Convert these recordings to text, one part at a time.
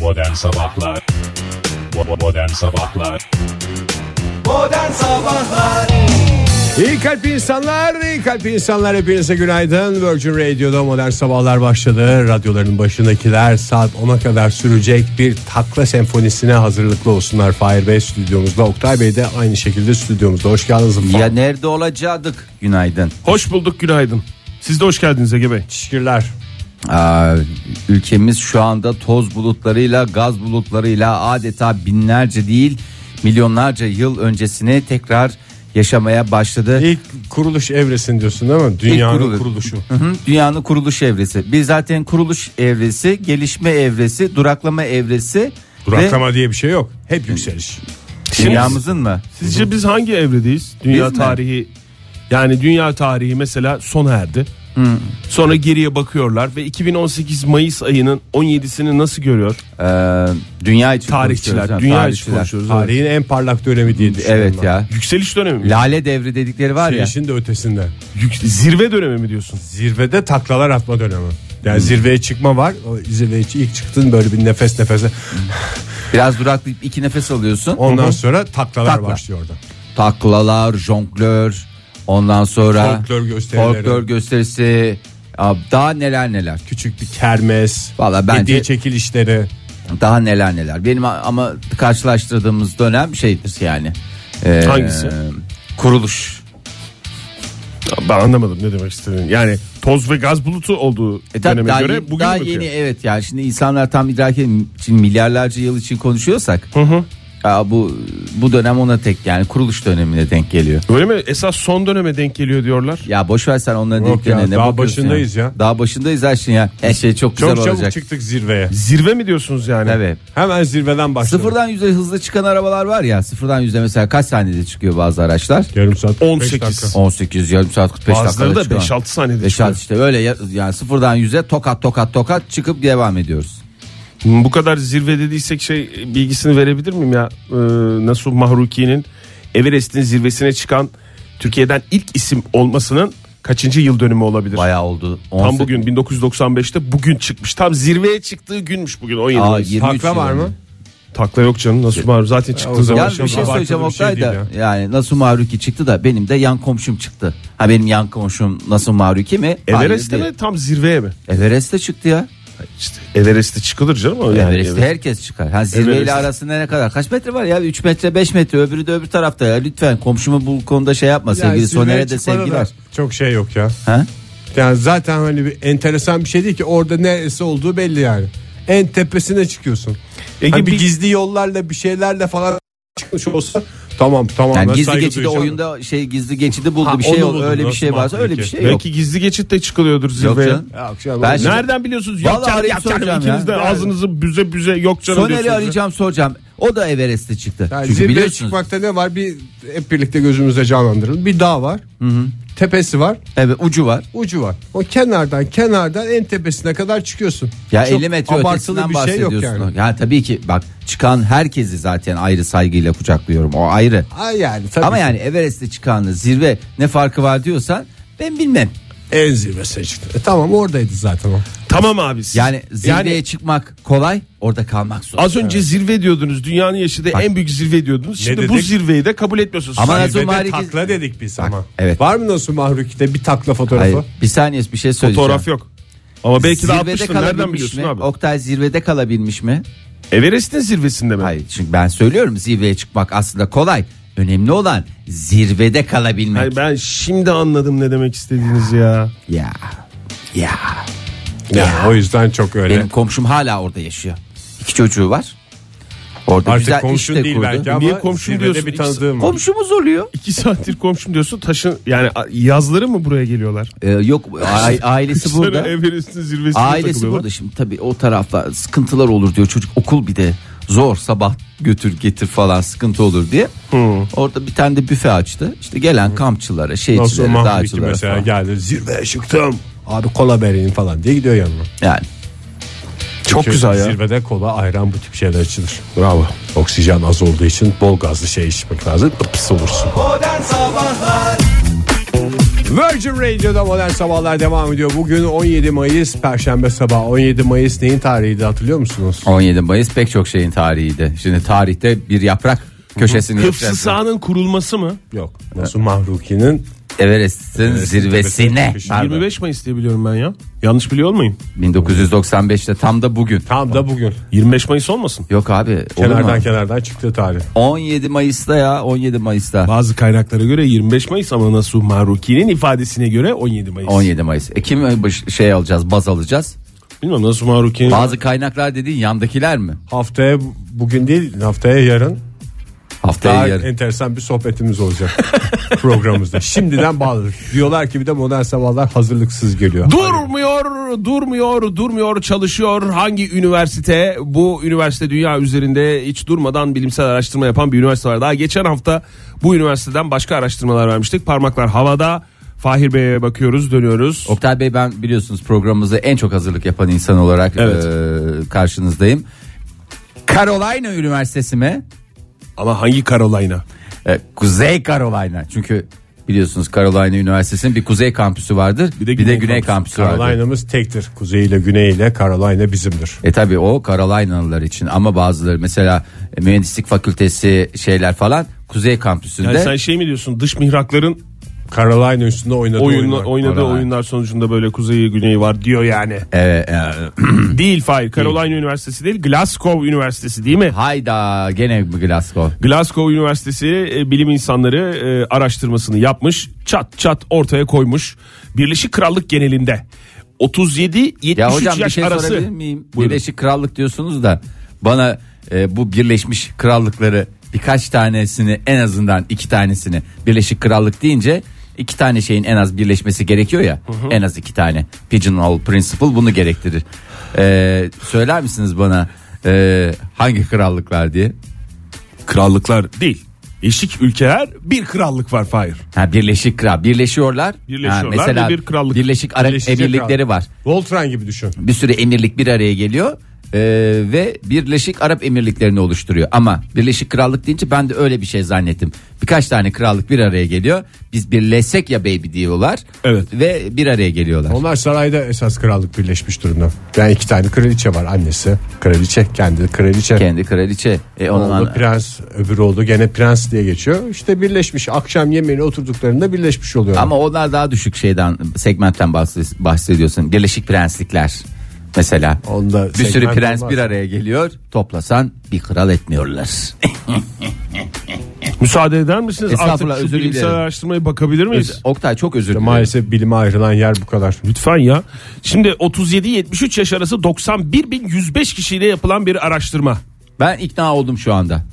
Modern Sabahlar Bo- Modern Sabahlar İyi kalp insanlar, iyi kalp insanlar hepinize günaydın. Virgin Radio'da modern sabahlar başladı. Radyoların başındakiler saat 10'a kadar sürecek bir takla senfonisine hazırlıklı olsunlar. Fahir Bey stüdyomuzda, Oktay Bey de aynı şekilde stüdyomuzda. Hoş geldiniz. Ya nerede olacaktık? Günaydın. Hoş bulduk günaydın. Siz de hoş geldiniz Ege Bey. Teşekkürler. Aa, ülkemiz şu anda toz bulutlarıyla, gaz bulutlarıyla adeta binlerce değil milyonlarca yıl öncesine tekrar yaşamaya başladı. İlk kuruluş evresini diyorsun değil mi? Dünyanın kuruluş. kuruluşu. Hı hı, dünyanın kuruluş evresi. Biz zaten kuruluş evresi, gelişme evresi, duraklama evresi ve Duraklama diye bir şey yok. Hep yükseliş. dünyamızın mı? Sizce biz hangi evredeyiz? Dünya Biz mi? tarihi yani dünya tarihi mesela sona erdi. Sonra geriye bakıyorlar ve 2018 Mayıs ayının 17'sini nasıl görüyor Ee, dünya için konuşuyoruz. tarihçiler? yani, Dünya için tarihçiler. konuşuyoruz. evet. Tarihin en parlak dönemi diye düşünüyorum. Evet ben. ya. Yükseliş dönemi mi? Lale devri dedikleri var Şey, ya. Güneşin de ötesinde. Yük- zirve dönemi mi diyorsun? Zirvede taklalar atma dönemi. Yani Hmm. zirveye çıkma var. O zirveye ilk çıktın böyle bir nefes nefese. şey- Biraz duraklayıp iki nefes alıyorsun. Ondan sonra taklalar Takla. başlıyor orada. taklalar, jonglör, ondan sonra Folklor gösterileri. folklor gösterisi, ya daha neler neler. Küçük bir kermes. Valla bence- Hediye çekilişleri. Daha neler neler. Benim a- ama karşılaştırdığımız dönem şeydir yani. Ee, Hangisi? Kuruluş. Ben anlamadım ne demek istediğini. Yani toz ve gaz bulutu olduğu E tabii döneme daha, göre yeni- bugün daha bakıyor. yeni evet yani şimdi insanlar tam idrak edin için milyarlarca yıl için konuşuyorsak hı. ya bu bu dönem ona tek yani kuruluş dönemine denk geliyor. Öyle mi? Esas son döneme denk geliyor diyorlar. Ya boş ver sen onların Yok denk ya, dönemine daha bakıyorsun başındayız ya. Daha başındayız her şey ya. Her şey çok güzel Çok çabuk olacak. çıktık zirveye. Zirve mi diyorsunuz yani? Evet. Hemen zirveden başladık. Sıfırdan yüze hızlı çıkan arabalar var ya sıfırdan yüze mesela kaç saniyede çıkıyor bazı araçlar? Yarım saat 18. 18. dakika. 18 yarım saat 45 Bazıları dakikada da çıkan. 5-6 saniyede 5 çıkıyor. saat işte öyle ya- yani sıfırdan yüze tokat tokat tokat çıkıp devam ediyoruz. Bu kadar zirve dediysek şey bilgisini verebilir miyim ya? Ee, Nasuh Mahruki'nin Everest'in zirvesine çıkan Türkiye'den ilk isim olmasının kaçıncı yıl dönümü olabilir? Bayağı oldu. 18 Tam bugün 1995'te bugün çıkmış. Tam zirveye çıktığı günmüş bugün 17 Aa, Mayıs. 23 Takla yıl var önce. mı? Takla yok canım Nasuh Mahruki zaten çıktığı zaman. Yalnız Başka bir şey abartılı söyleyeceğim bir şey Oktay da değil yani nasıl Mahruki çıktı da benim de yan komşum çıktı. Ha benim yan komşum nasıl Mahruki mi? Hayır Everest'te değil. mi tam zirveye mi? Everest'te çıktı ya. İşte Everest'te çıkılır canım o yani. Everest'te herkes çıkar. Ha zirveyle Everest. arasında ne kadar? Kaç metre var ya? 3 metre 5 metre öbürü de öbür tarafta ya. Lütfen komşumu bu konuda şey yapma sevgili Yani zirveye Soner'e de çıkmada sevgiler. da Çok şey yok ya. Ha? Yani zaten hani bir enteresan bir şey değil ki orada neresi olduğu belli yani. En tepesine çıkıyorsun. Ege hani bir bir- gizli yollarla bir şeylerle falan çıkmış olsa tamam tamam. Yani ben gizli saygı geçidi duyacağım. oyunda şey gizli geçidi buldu Ha, bir şey onu oldu. buldum. öyle bir Nasıl şey varsa öyle bir mantıklı şey Belki yok. gizli geçit de çıkılıyordur Yok zirveye. canım. Yok canım, Ben oğlum. şimdi- Nereden biliyorsunuz? Yok Vallahi canım, yok arayıp canım. soracağım İkiniz de ya. ağzınızı büze büze yok canım Soner'i diyorsunuz. arayacağım soracağım. O da Everest'te çıktı. Yani Çünkü zirveye biliyorsunuz. çıkmakta ne var? Bir hep birlikte gözümüzde canlandıralım. Bir dağ var. Tepesi var, Evet ucu var. ucu var. O kenardan kenardan en tepesine kadar çıkıyorsun. Ya Çok 50 metre abartılı ötesinden bir şey yok bahsediyorsun. yani. tabii ki bak çıkan herkesi zaten ayrı saygıyla kucaklıyorum. O ayrı. Ay yani tabii. Ama yani Everest'te çıkanla zirve ne farkı var diyorsan ben bilmem. en zirvesine çıktı. E tamam oradaydı zaten o. Tamam abi. siz- Yani zirveye çıkmak kolay, orada kalmak zor. Az önce zirve diyordunuz. Dünyanın yaşadığı Bak. en büyük zirve diyordunuz. Şimdi Ne bu dedik? zirveyi de kabul etmiyorsunuz. Ama Sayın Nasuh Bey de Mahruki- tak- Takla dedik biz ama. evet. Var mı nasıl Mahruki'de bir takla fotoğrafı? Hayır, bir saniye bir şey söyleyeceğim. Fotoğraf yok. Ama belki de atmıştır. Nereden kalabilmiş biliyorsun mi? abi? Oktay zirvede kalabilmiş mi? Everest'in zirvesinde mi? Hayır çünkü ben söylüyorum zirveye çıkmak aslında kolay. Önemli olan zirvede kalabilmek. Hayır, ben şimdi anladım ne demek istediğiniz ya. Ya. Ya. Yani o yüzden çok öyle. Benim komşum hala orada yaşıyor. İki çocuğu var. Orada Artık güzel komşun iş de değil kurdu. belki ama Niye komşum zirvede diyorsun? bir tanıdığım var. Komşumuz oluyor. İki saattir komşum diyorsun taşın yani a- yazları mı buraya geliyorlar? Ee, yok a- ailesi Kışları burada. Everest'in zirvesinde Ailesi burada şimdi tabii o tarafta sıkıntılar olur diyor çocuk okul bir de zor sabah götür getir falan sıkıntı olur diye. Orada bir tane de büfe açtı. İşte gelen kampçılara, Nasıl şeycilere, Mahruki dağcılara mesela falan. geldi zirveye çıktım. Abi kola vereyim falan diye gidiyor yanıma. Yani Çok Çünkü güzel ya. Zirvede kola, ayran bu tip şeyler içilir. Bravo. Oksijen az olduğu için bol gazlı şey içmek lazım. Pıs olursun. Virgin Radio'da modern sabahlar devam ediyor. Bugün 17 Mayıs Perşembe sabahı. 17 Mayıs neyin tarihiydi hatırlıyor musunuz? 17 Mayıs pek çok şeyin tarihiydi. Şimdi tarihte bir yaprak köşesini Hıfzı yapacaksın. sahanın kurulması mı? Yok. Nasıl Mahruki'nin Everest'in zirvesine. tepesine. Pardon. 25 Mayıs diye biliyorum ben ya. Yanlış biliyor olmayayım. 1995'te tam da bugün. tam da bugün. 25 Mayıs olmasın. Yok abi olur mu? Kenardan kenardan çıktığı tarih. 17 Mayıs'ta ya 17 Mayıs'ta. Bazı kaynaklara göre 25 Mayıs ama Nasuh Mahruki'nin ifadesine göre 17 Mayıs. 17 Mayıs. E kim baş- şey alacağız baz alacağız. Bilmiyorum Nasuh Mahruki'nin Bazı kaynaklar dediğin yandakiler mi? Haftaya bugün değil haftaya yarın Haftaya daha yarın. enteresan bir sohbetimiz olacak programımızda. Şimdiden bağlı. Diyorlar ki bir de modern sabahlar hazırlıksız geliyor. Durmuyor, durmuyor, durmuyor, çalışıyor. Hangi üniversite? Bu üniversite dünya üzerinde hiç durmadan bilimsel araştırma yapan bir üniversite var. Daha geçen hafta bu üniversiteden başka araştırmalar vermiştik. Parmaklar havada. Fahir Bey'e bakıyoruz, dönüyoruz. Oktay Bey ben biliyorsunuz programımızda en çok hazırlık yapan insan olarak Evet. e, karşınızdayım. Carolina Üniversitesi mi? Ama hangi Carolina? E, Kuzey Carolina. Çünkü biliyorsunuz Carolina Üniversitesi'nin bir kuzey kampüsü vardır. Bir de güney, kampüsü, vardır. Carolina'mız tektir. Kuzey ile güney ile Carolina bizimdir. E tabi o Carolina'lılar için ama bazıları mesela e, mühendislik fakültesi şeyler falan kuzey kampüsünde. Yani sen şey mi diyorsun dış mihrakların Carolina üstünde oynadığı oyunla, oyunlar. oynadığı Carolina. oyunlar sonucunda böyle kuzeyi güneyi var diyor yani. Evet, e, Değil Fahir. Carolina Üniversitesi değil Glasgow Üniversitesi değil mi? hayda gene Glasgow. Glasgow Üniversitesi e, bilim insanları e, araştırmasını yapmış. Çat çat ortaya koymuş. Birleşik Krallık genelinde 37-73 Ya hocam bir yaş şey arası. sorabilir miyim? Buyurun. Birleşik Krallık diyorsunuz da bana e, bu Birleşmiş Krallıkları birkaç tanesini en azından iki tanesini Birleşik Krallık deyince iki tane şeyin en az birleşmesi gerekiyor ya en az iki tane Pigeonhole Principle bunu gerektirir. E, söyler misiniz bana e, hangi krallıklar diye? Krallıklar değil. Eşik ülkeler bir krallık var Fahir. Ha Birleşik Kral birleşiyorlar. Birleşiyorlar ha, mesela ve bir krallık. Birleşik Arap Birleşik Emirlikleri Krallık. var. Voltran gibi düşün. bir sürü emirlik bir araya geliyor e, ve Birleşik Arap Emirlikleri'ni oluşturuyor. Ama Birleşik Krallık deyince ben de öyle bir şey zannettim. Birkaç tane krallık bir araya geliyor. Biz birleşsek ya baby diyorlar. Evet. Ve bir araya geliyorlar. Onlar sarayda esas krallık birleşmiş durumda. Yani iki tane kraliçe var. Annesi kraliçe, kendi kraliçe. Kendi kraliçe. E, onun Oğlu an- prens, öbürü oldu gene prens diye geçiyor. İşte birleşmiş. Akşam yemeğine oturduklarında birleşmiş oluyor. ama onlar daha düşük şeyden segmentten bahs- bahsediyorsun. Birleşik Prenslikler mesela. Onda bir sürü segment prens olmaz. bir araya geliyor. Toplasan bir kral etmiyorlar. Müsaade eder misiniz? Estağfurullah, Artık şu özür bilimsel dilerim. araştırmaya bakabilir miyiz? Oktay çok özür dilerim. Maalesef bilime ayrılan yer bu kadar. Lütfen ya. Şimdi 37-73 yaş arası 91.105 kişiyle yapılan bir araştırma. Ben ikna oldum şu anda.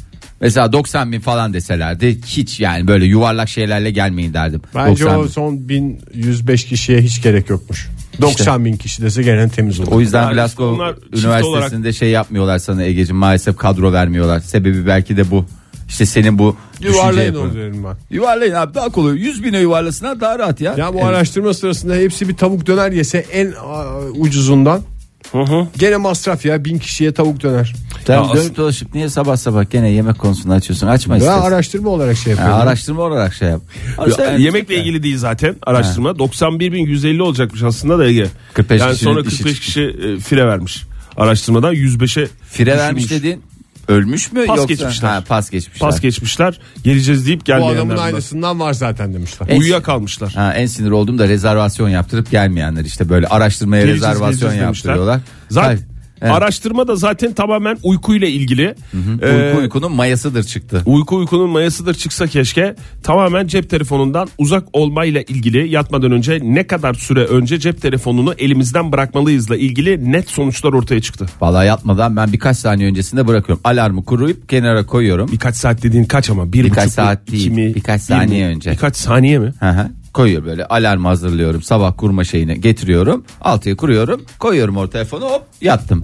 Mesela 90 bin falan deselerdi hiç yani böyle yuvarlak şeylerle gelmeyin derdim. Bence 90 o bin. son 1105 kişiye hiç gerek yokmuş. 90 bin kişi dese gene temiz olur. O yüzden Yani Glasgow onlar çift Üniversitesi'nde şey yapmıyorlar sana Ege'cim maalesef kadro vermiyorlar. Sebebi belki de bu. İşte senin bu düşünce Yuvarlayın yapın. onu derim ben. Yuvarlayın abi daha kolay. 100 bine yuvarlasınlar daha rahat ya. Ya bu Evet. araştırma sırasında hepsi bir tavuk döner yese en aa, ucuzundan gene masraf ya bin kişiye tavuk döner. Sen Ya dönüp aslında- dolaşıp niye sabah sabah gene yemek konusunu açıyorsun? Açma Ya istersen. araştırma olarak şey Ha, yapıyorum. araştırma olarak şey yap. Sen- Yani yemekle ilgili değil zaten araştırma. 91.150 olacakmış aslında da Ege. 45 yani kişinin sonra işi 45 çıktı. kişi e, fire vermiş. Araştırmadan 105'e Fire düşürmüş. vermiş dediğin ölmüş mü Pas yoksa? geçmişler. Ha, pas geçmişler. Pas geçmişler. Geleceğiz deyip Bu gelmeyenler. adamın bunlar. aynısından var zaten demişler. E, Uyuyakalmışlar. Ha, en sinir olduğum da rezervasyon yaptırıp gelmeyenler işte böyle araştırmaya Geleceğiz, rezervasyon geleceğiz demişler. yaptırıyorlar. Zaten Hayır, evet. araştırma da zaten tamamen uykuyla ilgili. Ee, Uyku uykunun mayasıdır çıktı. Uyku uykunun mayasıdır çıksa keşke tamamen cep telefonundan uzak olmayla ilgili yatmadan önce ne kadar süre önce cep telefonunu elimizden bırakmalıyızla ilgili net sonuçlar ortaya çıktı. Vallahi yatmadan ben birkaç saniye öncesinde bırakıyorum. Alarmı kuruyup kenara koyuyorum. Birkaç saat dediğin kaç ama? Bir Birkaç buçuk mu, saat iki değil, mi, birkaç bir saniye mi? önce. Birkaç saniye mi? Hı hı. Koyuyor böyle alarm hazırlıyorum. Sabah kurma şeyini getiriyorum. Altıya kuruyorum. Koyuyorum o telefonu hop yattım.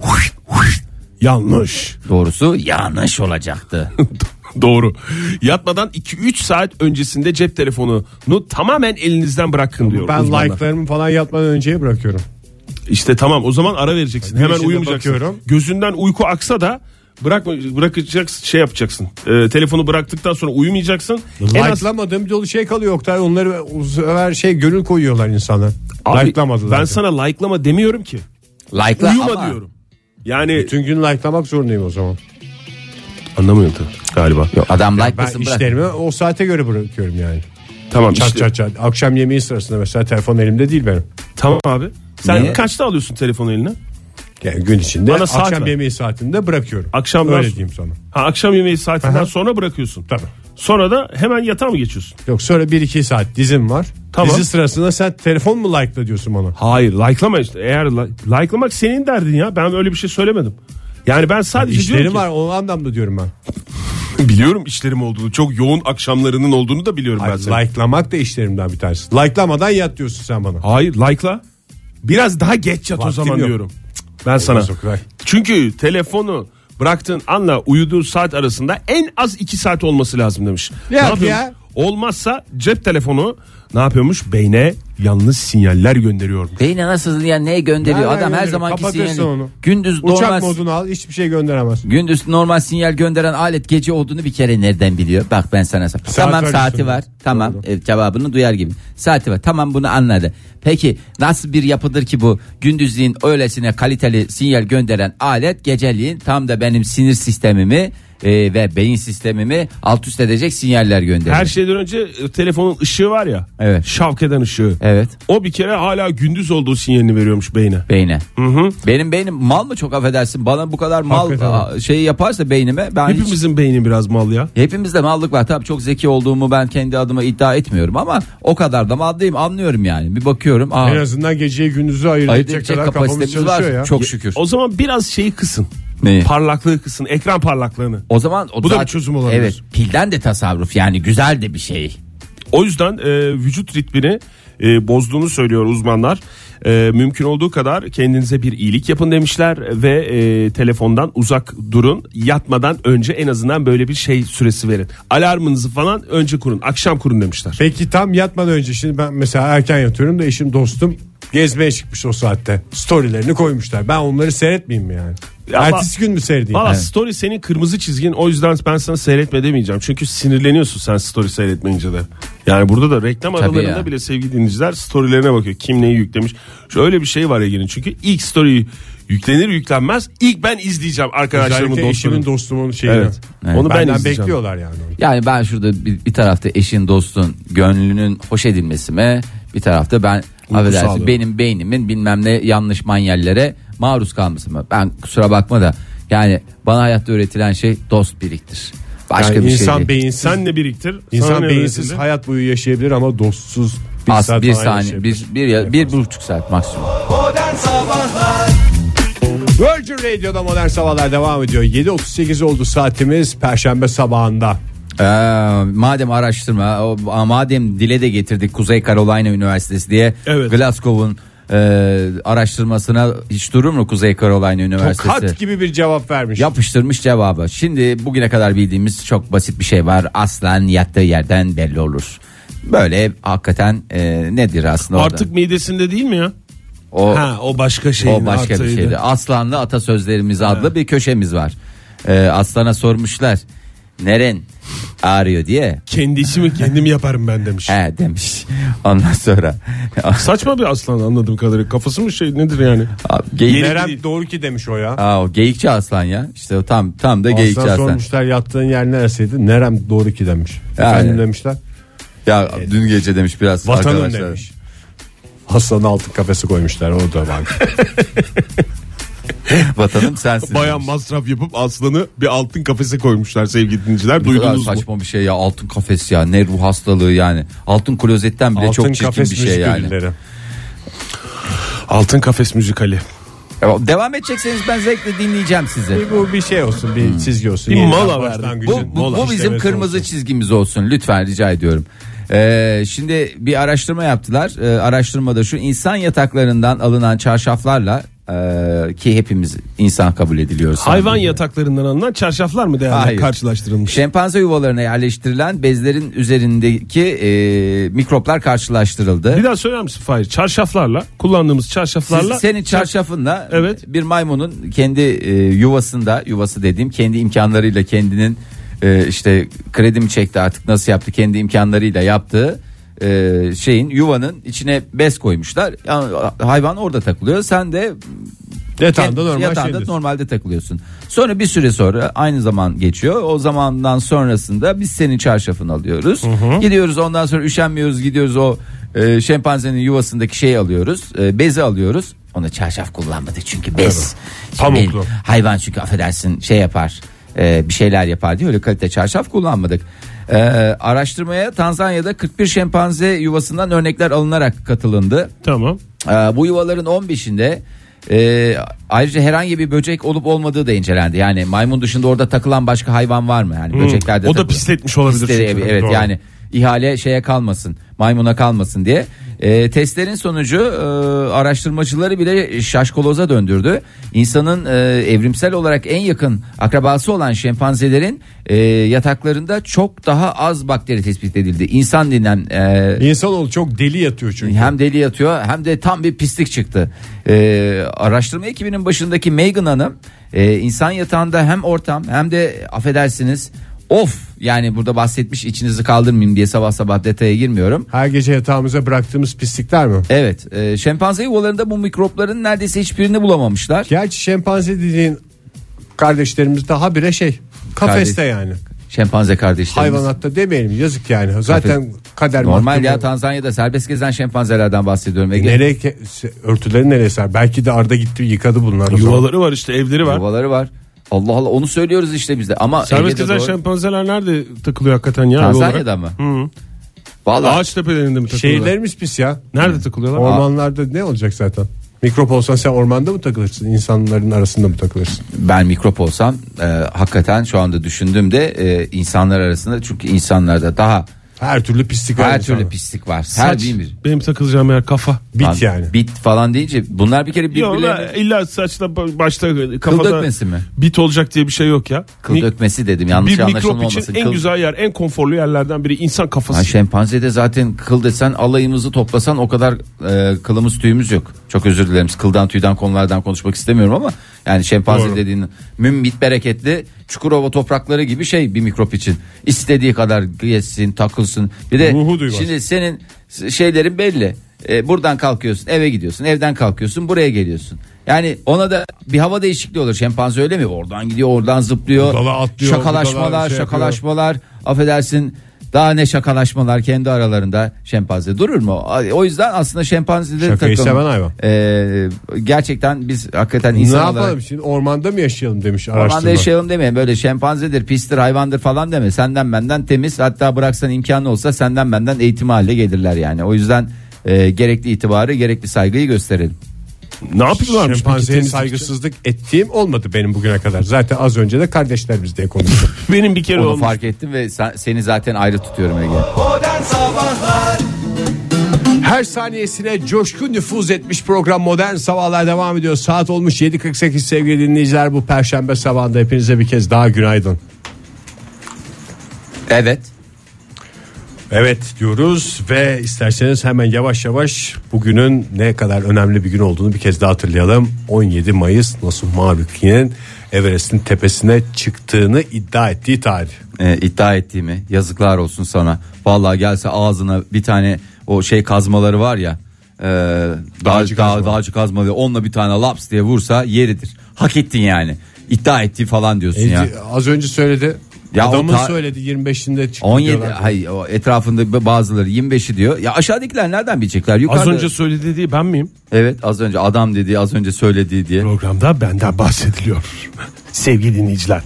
Yanlış. Doğrusu yanlış olacaktı. Doğru. Yatmadan 2-3 saat öncesinde cep telefonunu tamamen elinizden bırakın diyor Ben uzmanlar. like'larımı falan yatmadan önceye bırakıyorum. İşte tamam o zaman ara vereceksin. Hemen Güneşe de uyumayacaksın. bakıyorum. Gözünden uyku aksa da Bırakma, bırakacaksın şey yapacaksın. Ee, telefonu bıraktıktan sonra uyumayacaksın. En az Like'lamadığım bir dolu şey kalıyor Oktay. Onları uz- her şey gönül koyuyorlar insana. Abi, Like'lamadılar. Ben sana like'lama demiyorum ki. Like'la Uyuma ama diyorum. Yani Bütün gün like'lamak zorundayım o zaman. anlamıyorum tabii galiba. adam Ben like'lasın bırak. işlerimi o saate göre bırakıyorum yani. Tamam Çat işte. çat çat. Akşam yemeği sırasında mesela telefon elimde değil benim. Tamam abi. Sen Niye? kaçta alıyorsun telefonu eline? Yani gün içinde Bana saat akşam ver. yemeği saatinde bırakıyorum. Akşamdan Öyle sonra- diyeyim sana. Ha akşam yemeği saatinden Aha. sonra bırakıyorsun. Tabii. Sonra da hemen yatağa mı geçiyorsun? Yok sonra 1-2 saat dizim var. Tamam. Dizi sırasında sen telefon mu like'la diyorsun bana? Hayır, like'lama işte. Eğer li- like'lamak senin derdin ya. Ben öyle bir şey söylemedim. Yani ben sadece diyorum İşlerim ki- var o anlamda diyorum ben. biliyorum işlerim olduğunu. Çok yoğun akşamlarının olduğunu da biliyorum ben Hayır, senin. like'lamak da işlerimden bir tanesi. Like'lamadan yat diyorsun sen bana. Hayır, like'la. Biraz daha geç yat o Vaktim zaman yok. diyorum. Cık, Ben sana. Olmaz Oktay. Çünkü telefonu bıraktığın anla uyuduğun saat arasında en az 2 saat olması lazım demiş. Yok yapıyormuş? ya. Olmazsa cep telefonu ne yapıyormuş? Beyne yanlış sinyaller gönderiyor. Beyne nasıl ya ne gönderiyor Nereden adam her gönderiyor? zamanki Kapatırsın sinyali. onu. Gündüz Uçak normal modunu al hiçbir şey gönderemez. gündüz normal sinyal gönderen alet gece olduğunu bir kere nereden biliyor? Bak ben sana sor- Tamam var saati üstünde. var. Tamam e, cevabını duyar gibi. Saati var. Tamam bunu anladı. Peki nasıl bir yapıdır ki bu gündüzliğin öylesine kaliteli sinyal gönderen alet geceliğin tam da benim sinir sistemimi e, ve beyin sistemimi alt üst edecek sinyaller gönderir. Her şeyden önce e, telefonun ışığı var ya. Evet. Şavk eden ışığı. Evet. O bir kere hala gündüz olduğu sinyalini veriyormuş beyne. Beyne. Benim beynim mal mı çok affedersin bana bu kadar mal Hakikaten. a, şeyi yaparsa beynime ben hiç- Hepimizin beyni biraz mal ya. Hepimizde mallık var. Tabii çok zeki olduğumu ben kendi adıma iddia etmiyorum ama o kadar da mallıyım anlıyorum yani. Bir bakıyorum. Aa, En azından geceyi gündüzü ayırt ayırt edecek edecek kadar kafamız kapasitemiz var. çalışıyor ya. Çok şükür. O zaman biraz şeyi kısın. Neyi? Parlaklığı kısın. Ekran parlaklığını. O zaman o Bu da zaten- bir çözüm olabilir. Evet, pilden de tasarruf yani güzel de bir şey. O yüzden e, vücut ritmini e, bozduğunu söylüyor uzmanlar. E, mümkün olduğu kadar kendinize bir iyilik yapın demişler ve e, telefondan uzak durun. Yatmadan önce en azından böyle bir şey süresi verin. Alarmınızı falan önce kurun. Akşam kurun demişler. Peki tam yatmadan önce şimdi ben mesela erken yatıyorum da eşim dostum gezmeye çıkmış o saatte. Storylerini koymuşlar. Ben onları seyretmeyeyim mi yani? Ya Ertesi ba- gün mü seyredeyim? Valla Evet. story senin kırmızı çizgin o yüzden ben sana seyretme demeyeceğim. Çünkü sinirleniyorsun sen story seyretmeyince de. Yani burada da reklam aralarında ya. bile sevgili dinleyiciler storylerine bakıyor. Kim neyi yüklemiş. Şöyle bir şey var Ege'nin çünkü ilk story yüklenir yüklenmez ilk ben izleyeceğim arkadaşlarımın Özellikle dostlarımın. eşimin dostumun şeyini. Evet. Evet. Onu ben Benden izleyeceğim. bekliyorlar yani. onu. Yani ben şurada bir, bir tarafta eşin dostun gönlünün hoş edilmesine bir tarafta ben affedersin sağlığı. benim beynimin bilmem ne yanlış manyellere maruz kalması mı? Ben kusura bakma da yani bana hayatta öğretilen şey dost biriktir. Başka Yani bir şey insan değil. beyinsiz, Sen ne biriktir? sana insan ne beyinsiz öğretildi? hayat boyu yaşayabilir ama dostsuz bir Az saat bir falan saniye, yaşayabilir. bir, bir, ya- bir buçuk saat maksimum. Virgin Radio'da modern sabahlar devam ediyor. 7.38 oldu saatimiz perşembe sabahında. Ee, madem araştırma, o- a- madem dile de getirdik Kuzey Carolina Üniversitesi diye Evet. Glasgow'un e, araştırmasına hiç durur mu Kuzey Carolina Üniversitesi? Tokat gibi bir cevap vermiş. Yapıştırmış cevabı. Şimdi bugüne kadar bildiğimiz çok basit bir şey var. Aslan yattığı yerden belli olur. Böyle hakikaten e, nedir aslında orada? Artık midesinde değil mi ya? o, Ha o başka şey. o başka bir şeydi. Aslanlı atasözlerimiz adlı bir köşemiz var. E, aslana sormuşlar. Neren ağrıyor diye. Kendi işimi kendim yaparım ben demiş. He demiş. Ondan sonra Saçma bir aslan anladığım kadarıyla. Kafası mı şey nedir yani? Abi, geyik, Yeri- Nerem doğru ki demiş o ya. Aa, o geyikçi aslan ya. İşte o tam tam da geyikçi Aslan aslan. sormuşlar yattığın yer neresiydi? Nerem doğru ki demiş. Yani. Efendim demişler. Ya dün gece demiş biraz Vatanım arkadaşlar. demiş. Aslanın altın kafesi koymuşlar o da bak. Vatanım sensin. Bayan demiş. masraf yapıp aslanı bir altın kafese koymuşlar sevgili dinleyiciler. Bu kadar Duydunuz mu? saçma bir şey ya altın kafes ya ne ruh hastalığı yani altın klozetten bile çok altın çirkin bir kafes şey şey yani. Altın kafes müzikali. Ya, Devam edecekseniz ben zevkle dinleyeceğim sizi. Bu bir şey olsun bir çizgi olsun. Bir Yeniden mola baştan verdik. güzel. Bu, bu, Mola bu bizim işlemesi kırmızı olsun. çizgimiz olsun lütfen rica ediyorum. Ee, şimdi bir araştırma yaptılar. Ee, araştırmada şu insan yataklarından alınan çarşaflarla e, ki hepimiz insan kabul ediliyoruz. Hayvan sanırım. yataklarından alınan çarşaflar mı değerli Hayır. karşılaştırılmış? Şempanze yuvalarına yerleştirilen bezlerin üzerindeki e, mikroplar karşılaştırıldı. Bir daha söyler misin Fahir? Çarşaflarla kullandığımız Siz- çarşaflarla senin çarşafınla Evet. bir maymunun kendi e, yuvasında yuvası dediğim kendi imkanlarıyla kendinin e, işte kredi mi çekti artık nasıl yaptı kendi imkanlarıyla yaptığı e, şeyin yuvanın içine bez koymuşlar. Yani hayvan orada takılıyor. Sen de Yatağında Kend- normal yatağında şeydir. normalde takılıyorsun. Sonra bir süre sonra aynı zaman geçiyor. O zamandan sonrasında biz senin çarşafını alıyoruz. Gidiyoruz ondan sonra üşenmiyoruz gidiyoruz o e, şempanzenin yuvasındaki şeyi alıyoruz. e, bezi alıyoruz. Ona çarşaf kullanmadı çünkü bez. Şimdi Pamuklu. Hayvan çünkü affedersin şey yapar. e, bir şeyler yapar diye öyle kalite çarşaf kullanmadık. E, araştırmaya Tanzanya'da 41 şempanze yuvasından örnekler alınarak katılındı. tamam. Ee, bu yuvaların 15'inde e, ayrıca herhangi bir böcek olup olmadığı da incelendi. Yani maymun dışında orada takılan başka hayvan var mı? Yani böceklerde Hmm. O da takılıyor. pisletmiş olabilir Pisleri- çünkü. evet Doğru. yani ihale şeye kalmasın. Maymuna kalmasın diye. E, testlerin sonucu e, araştırmacıları bile şaşkoloza döndürdü. İnsanın e, evrimsel olarak en yakın akrabası olan şempanzelerin e, yataklarında çok daha az bakteri tespit edildi. İnsan denen e, İnsanoğlu çok deli yatıyor çünkü. hem deli yatıyor hem de tam bir pislik çıktı. Ee, araştırma ekibinin başındaki Megan Hanım e, insan yatağında hem ortam hem de affedersiniz of yani burada bahsetmiş içinizi kaldırmayayım diye sabah sabah detaya girmiyorum. Her gece yatağımıza bıraktığımız pislikler mi? Evet e, şempanze yuvalarında bu mikropların neredeyse hiçbirini bulamamışlar. Gerçi şempanze dediğin kardeşlerimiz daha bire şey. Kafeste Kardeş- yani. Şempanze kardeşlerimiz. Hayvanatta demeyelim yazık yani. Zaten kader Normal mahkumu. ya Tanzanya'da serbest gezen şempanzelerden bahsediyorum. Ege. Nereye ke- se- örtüleri nereye ser? Belki de Arda gitti yıkadı bunlar. o zaman. Yuvaları var işte evleri var. Yuvaları var. Allah Allah onu söylüyoruz işte bizde ama Serbest Ege'de gezen doğru. şempanzeler nerede takılıyor hakikaten ya? ev olarak? Tanzanya'da mı? Hı. Vallahi Ağaç tepelerinde mi takılıyorlar? Şehirlerimiz pis ya. Nerede takılıyorlar? Ormanlarda ne olacak zaten? Mikrop olsan sen ormanda mı takılırsın? İnsanların arasında mı takılırsın? ben mikrop olsam e, hakikaten şu anda düşündüğümde e, insanlar arasında çünkü insanlarda daha Her türlü pislik var her insanda. türlü pislik var. Her şey Saç. bir Benim takılacağım yer kafa. Bit Lan, yani. Bit falan deyince bunlar bir kere Yok birbirlerine illa saçla başta kafada dökmesi mi? bit olacak diye bir şey yok ya. kıl Mi- dökmesi dedim yanlış bir anlaşılma mikrop için olmasın. en Kıl- güzel yer, en konforlu yerlerden biri insan kafası. Ha, şempanzede zaten kıl desen alayımızı toplasan o kadar e, kılımız tüyümüz yok. Çok özür dilerim kıldan tüyden konulardan konuşmak istemiyorum ama yani şempanze Doğru. dediğin mümbit bereketli Çukurova toprakları gibi şey bir mikrop için. İstediği kadar geçsin takılsın. Bir de Ruhu duymaz. şimdi senin s- şeylerin belli. E, buradan kalkıyorsun eve gidiyorsun evden kalkıyorsun buraya geliyorsun. Yani ona da bir hava değişikliği olur. Şempanze öyle mi? Oradan gidiyor, oradan zıplıyor. Budala atlıyor, budala şakalaşmalar, şey yapıyor. şakalaş şakalaşmalar affedersin daha ne şakalaşmalar kendi aralarında şempanze durur mu? O yüzden aslında şempanzeleri Şakayı takım- seven hayvan. Ee, gerçekten biz hakikaten Ne insan yapalım olarak şimdi? Ormanda mı yaşayalım demiş Ormanda araştırma. yaşayalım deme böyle şempanzedir pistir hayvandır falan deme senden benden temiz hatta bıraksan imkanı olsa senden benden eğitim haline gelirler yani o yüzden e, gerekli itibarı gerekli saygıyı gösterelim. Ne yapıyorlarmış? peki Şempanzeye temizlik saygısızlık ettiğim olmadı benim bugüne kadar. Zaten az önce de kardeşlerimiz diye konuştuk. için? Benim bir kere Onu olmuş. fark ettim ve sen- seni zaten ayrı tutuyorum Ege. Her saniyesine coşku nüfuz etmiş program Modern Sabahlar devam ediyor. Saat olmuş 7.48 sevgili dinleyiciler. Bu perşembe sabahında hepinize bir kez daha günaydın. Evet. Evet diyoruz ve isterseniz hemen yavaş yavaş bugünün ne kadar önemli bir gün olduğunu bir kez daha hatırlayalım. 17 Mayıs Nasuh Maluki'nin Everest'in tepesine çıktığını iddia ettiği tarih. e, iddia ettiğimi yazıklar olsun sana. Vallahi gelse ağzına bir tane o şey kazmaları var ya. E, dağcı, kazma. dağ, dağcı kazma ve onunla bir tane laps diye vursa yeridir. Hak ettin yani. İddia ettiği falan diyorsun ya. Az önce söyledi. Ya o Adamın ta- söyledi 25'inde çıktı 17 diyorlar. hayır o etrafında bazıları 25'i diyor. Ya aşağıdakiler nereden bilecekler? Yukarıda. Az önce söylediği değil, ben miyim? evet az önce adam dediği az önce söylediği diye. Programda benden bahsediliyor. Sevgili dinleyiciler.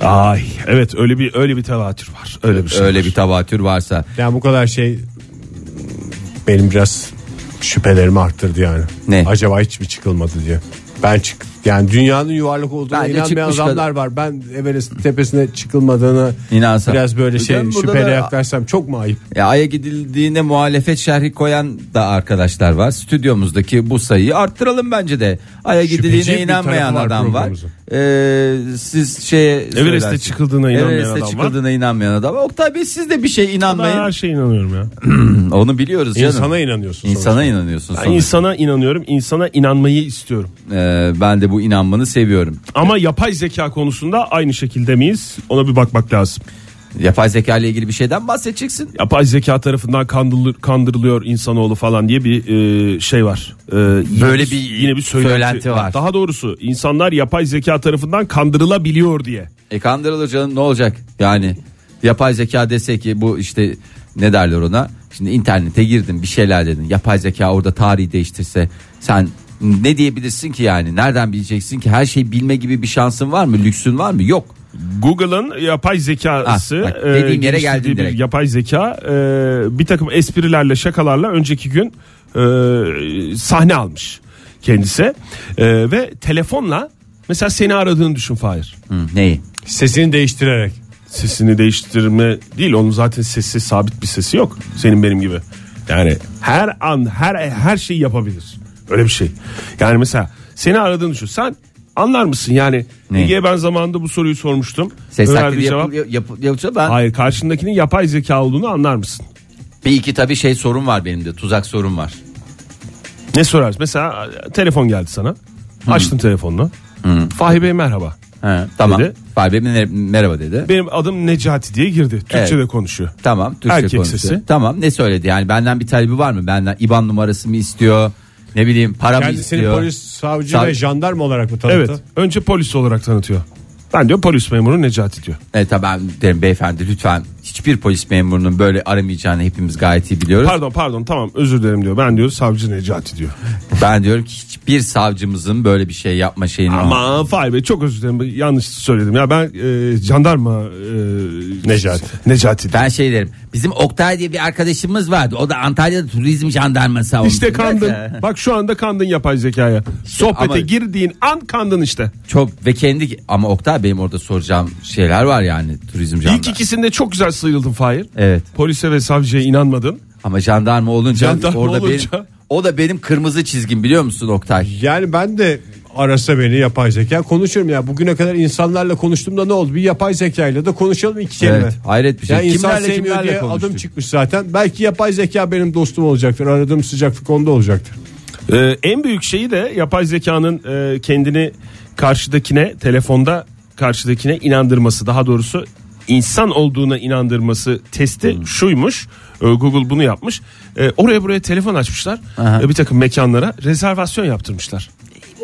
Ay evet öyle bir öyle bir tevatür var. Öyle bir şey. Öyle bir tavatür varsa. Yani bu kadar şey benim biraz şüphelerimi arttırdı yani. Ne? Acaba hiç mi çıkılmadı diye. Ben çık Yani dünyanın yuvarlak olduğuna Bence inanmayan çıkmış adamlar kadar. var. Ben Everest'in tepesine çıkılmadığını İnansa. biraz böyle şey Ben burada şüpheyle da- yaklaşsam çok mu ayıp? Ya E, Ay'a gidildiğine muhalefet şerhi koyan da arkadaşlar var. Stüdyomuzdaki bu sayıyı arttıralım bence de. Ay'a Şüpheci gidildiğine bir inanmayan tarafı var adam var. programımızın. Ee, siz şeye söylersiniz. çıkıldığına inanmayan Everest'e adam var. çıkıldığına inanmayan adam var. Oktay Bey siz de bir şey Ben her inanmayın. şeye inanıyorum ya. Onu biliyoruz canım. İnsana inanıyorsun. İnsana sonuçta. inanıyorsun Ben sonuçta. insana inanıyorum. insana inanmayı istiyorum. Ee, ben de bu inanmanı seviyorum. Ama yapay zeka konusunda aynı şekilde miyiz? Ona bir bakmak lazım. Yapay zeka ile ilgili bir şeyden bahsedeceksin. Yapay zeka tarafından kandırılır, kandırılıyor insanoğlu falan diye bir e, şey var. E, yine Böyle bir söylenti var. Daha doğrusu insanlar yapay zeka tarafından kandırılabiliyor diye. E kandırılır canım ne olacak? Yani yapay zeka dese ki bu işte ne derler ona? Şimdi internete girdin bir şeyler dedin. Yapay zeka orada tarihi değiştirse sen ne diyebilirsin ki yani? Nereden bileceksin ki? Her şeyi bilme gibi bir şansın var mı? Lüksün var mı? Yok. Google'ın yapay zekası e, Ah, bak, dediğim yere geliştirdiği geldin bir direkt. yapay zeka e, bir takım esprilerle şakalarla önceki gün e, sahne almış kendisi E, ve telefonla mesela seni aradığını düşün Fahir. Hı, neyi? Sesini değiştirerek. Sesini değiştirme değil onun zaten sesi sabit bir sesi yok senin benim gibi. Yani her an her her şeyi yapabilir. Öyle bir şey. Yani mesela seni aradığını düşün. Sen anlar mısın yani? Ne? Ege'ye ben zamanında bu soruyu sormuştum. Ses Önerdiği taklidi cevap- yapıl, yapıl- yapılsa ben Hayır karşındakinin yapay zeka olduğunu anlar mısın? bir iki tabii şey sorun var benim de. Tuzak sorun var. Ne sorarsın? Mesela e, telefon geldi sana. Açtın telefonunu. Fahri Bey merhaba. He, tamam. Dedi. Fahri Bey mer- merhaba dedi. Benim adım Necati diye girdi. Türkçe Evet. de konuşuyor. Tamam Türkçe Erkek konuşuyor. sesi. Tamam ne söyledi yani benden bir talebi var mı? Benden IBAN numarası mı istiyor? Ne bileyim para mı Kendisini istiyor? polis, savcı Sav- ve jandarma olarak mı tanıttı? Evet. Önce polis olarak tanıtıyor. Ben diyor polis memuru Necati diyor. Evet E, tabii ben derim beyefendi lütfen hiçbir polis memurunun böyle aramayacağını hepimiz gayet iyi biliyoruz. Pardon pardon tamam özür dilerim diyor. Ben diyor savcı Necati diyor. Ben diyorum ki hiçbir savcımızın böyle bir şey yapma şeyini Ama Fahri Bey çok özür dilerim yanlış söyledim. Ya ben e, jandarma e, Necati. Necati. diyor. Ben şey derim bizim Oktay diye bir arkadaşımız vardı o da Antalya'da turizm jandarması savundu. İşte kandın. Bak şu anda kandın yapay zekaya. Sohbete ama- girdiğin an kandın işte. Çok ve kendi ama Oktay benim orada soracağım şeyler var yani turizm jandarma. İlk ikisinde çok güzel sıyrıldın Fahir. Evet. Polise ve savcıya inanmadın. Ama jandarma olunca Jandarma orada olunca- benim o da benim kırmızı çizgim biliyor musun Oktay? Yani ben de arasa beni yapay zeka konuşurum ya. Bugüne kadar insanlarla konuştuğumda ne oldu? Bir yapay zekayla da konuşalım iki kelime. Evet, hayret bir şey. Ya insan Kimlerle sevmiyor kimlerle diye konuştun? adım çıkmış zaten. Belki yapay zeka benim dostum olacaktır. Aradığım sıcaklık onda olacaktır. Ee, en büyük şeyi de yapay zekanın e, kendini karşıdakine telefonda karşıdakine inandırması daha doğrusu insan olduğuna inandırması testi Hmm. şuymuş Ee, Google bunu yapmış Ee, oraya buraya telefon açmışlar Aha. Ee, bir takım mekanlara rezervasyon yaptırmışlar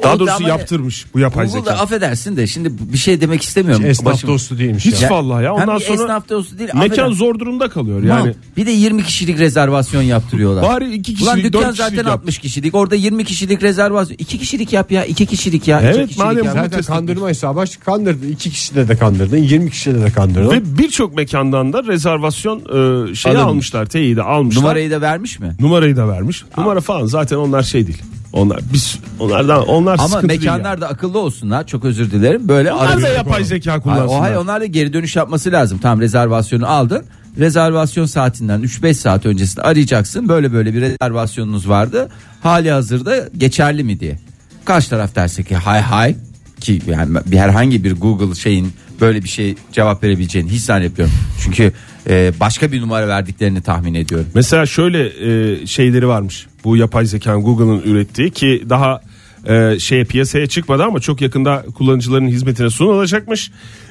daha O da doğrusu ama- yaptırmış bu yapay Google'da zeka affedersin de şimdi bir şey demek istemiyorum. Esnaf Başım- dostu değilmiş hiç ya. vallahi ya Hem ondan bir sonra esnaf dostu değil. mekan affedersin. zor durumda kalıyor Tamam. yani Bir de 20 kişilik rezervasyon yaptırıyorlar. Bari iki kişilik, Ulan dükkan dört zaten kişilik yap. 60 kişilik. Orada 20 kişilik rezervasyon. 2 kişilik yap ya. 2 kişilik ya. iki Evet, kişilik madem yap. bu- Zaten kandırma hesabı aç. Kandırdın. İki kişide de kandırdın. 20 kişide de kandırdın. ve birçok mekandan da rezervasyon e, şeyi Alınmış. almışlar teyidi almışlar Numarayı da vermiş mi? Numarayı da vermiş. Numara falan zaten onlar şey değil. Onlar biz onlardan onlar Ama sıkıntı mekanlar değil. da akıllı olsunlar. Çok özür dilerim. Böyle Yani. Onlar da arıyor. yapay zeka Hayır, o kullansınlar. hayır, onlar da geri dönüş yapması lazım. Tam rezervasyonu aldın. Rezervasyon saatinden 3-5 saat öncesinde arayacaksın. Böyle böyle bir rezervasyonunuz vardı. Hali hazırda geçerli mi diye. Karşı taraf derse ki hay hay ki yani bir herhangi bir Google şeyin böyle bir şey cevap verebileceğini hiç zannetmiyorum. Çünkü e, başka bir numara verdiklerini tahmin ediyorum. Mesela şöyle e, şeyleri varmış. Bu yapay zekanın Google'ın ürettiği ki daha e, şeye piyasaya çıkmadı ama çok yakında kullanıcıların hizmetine sunulacakmış.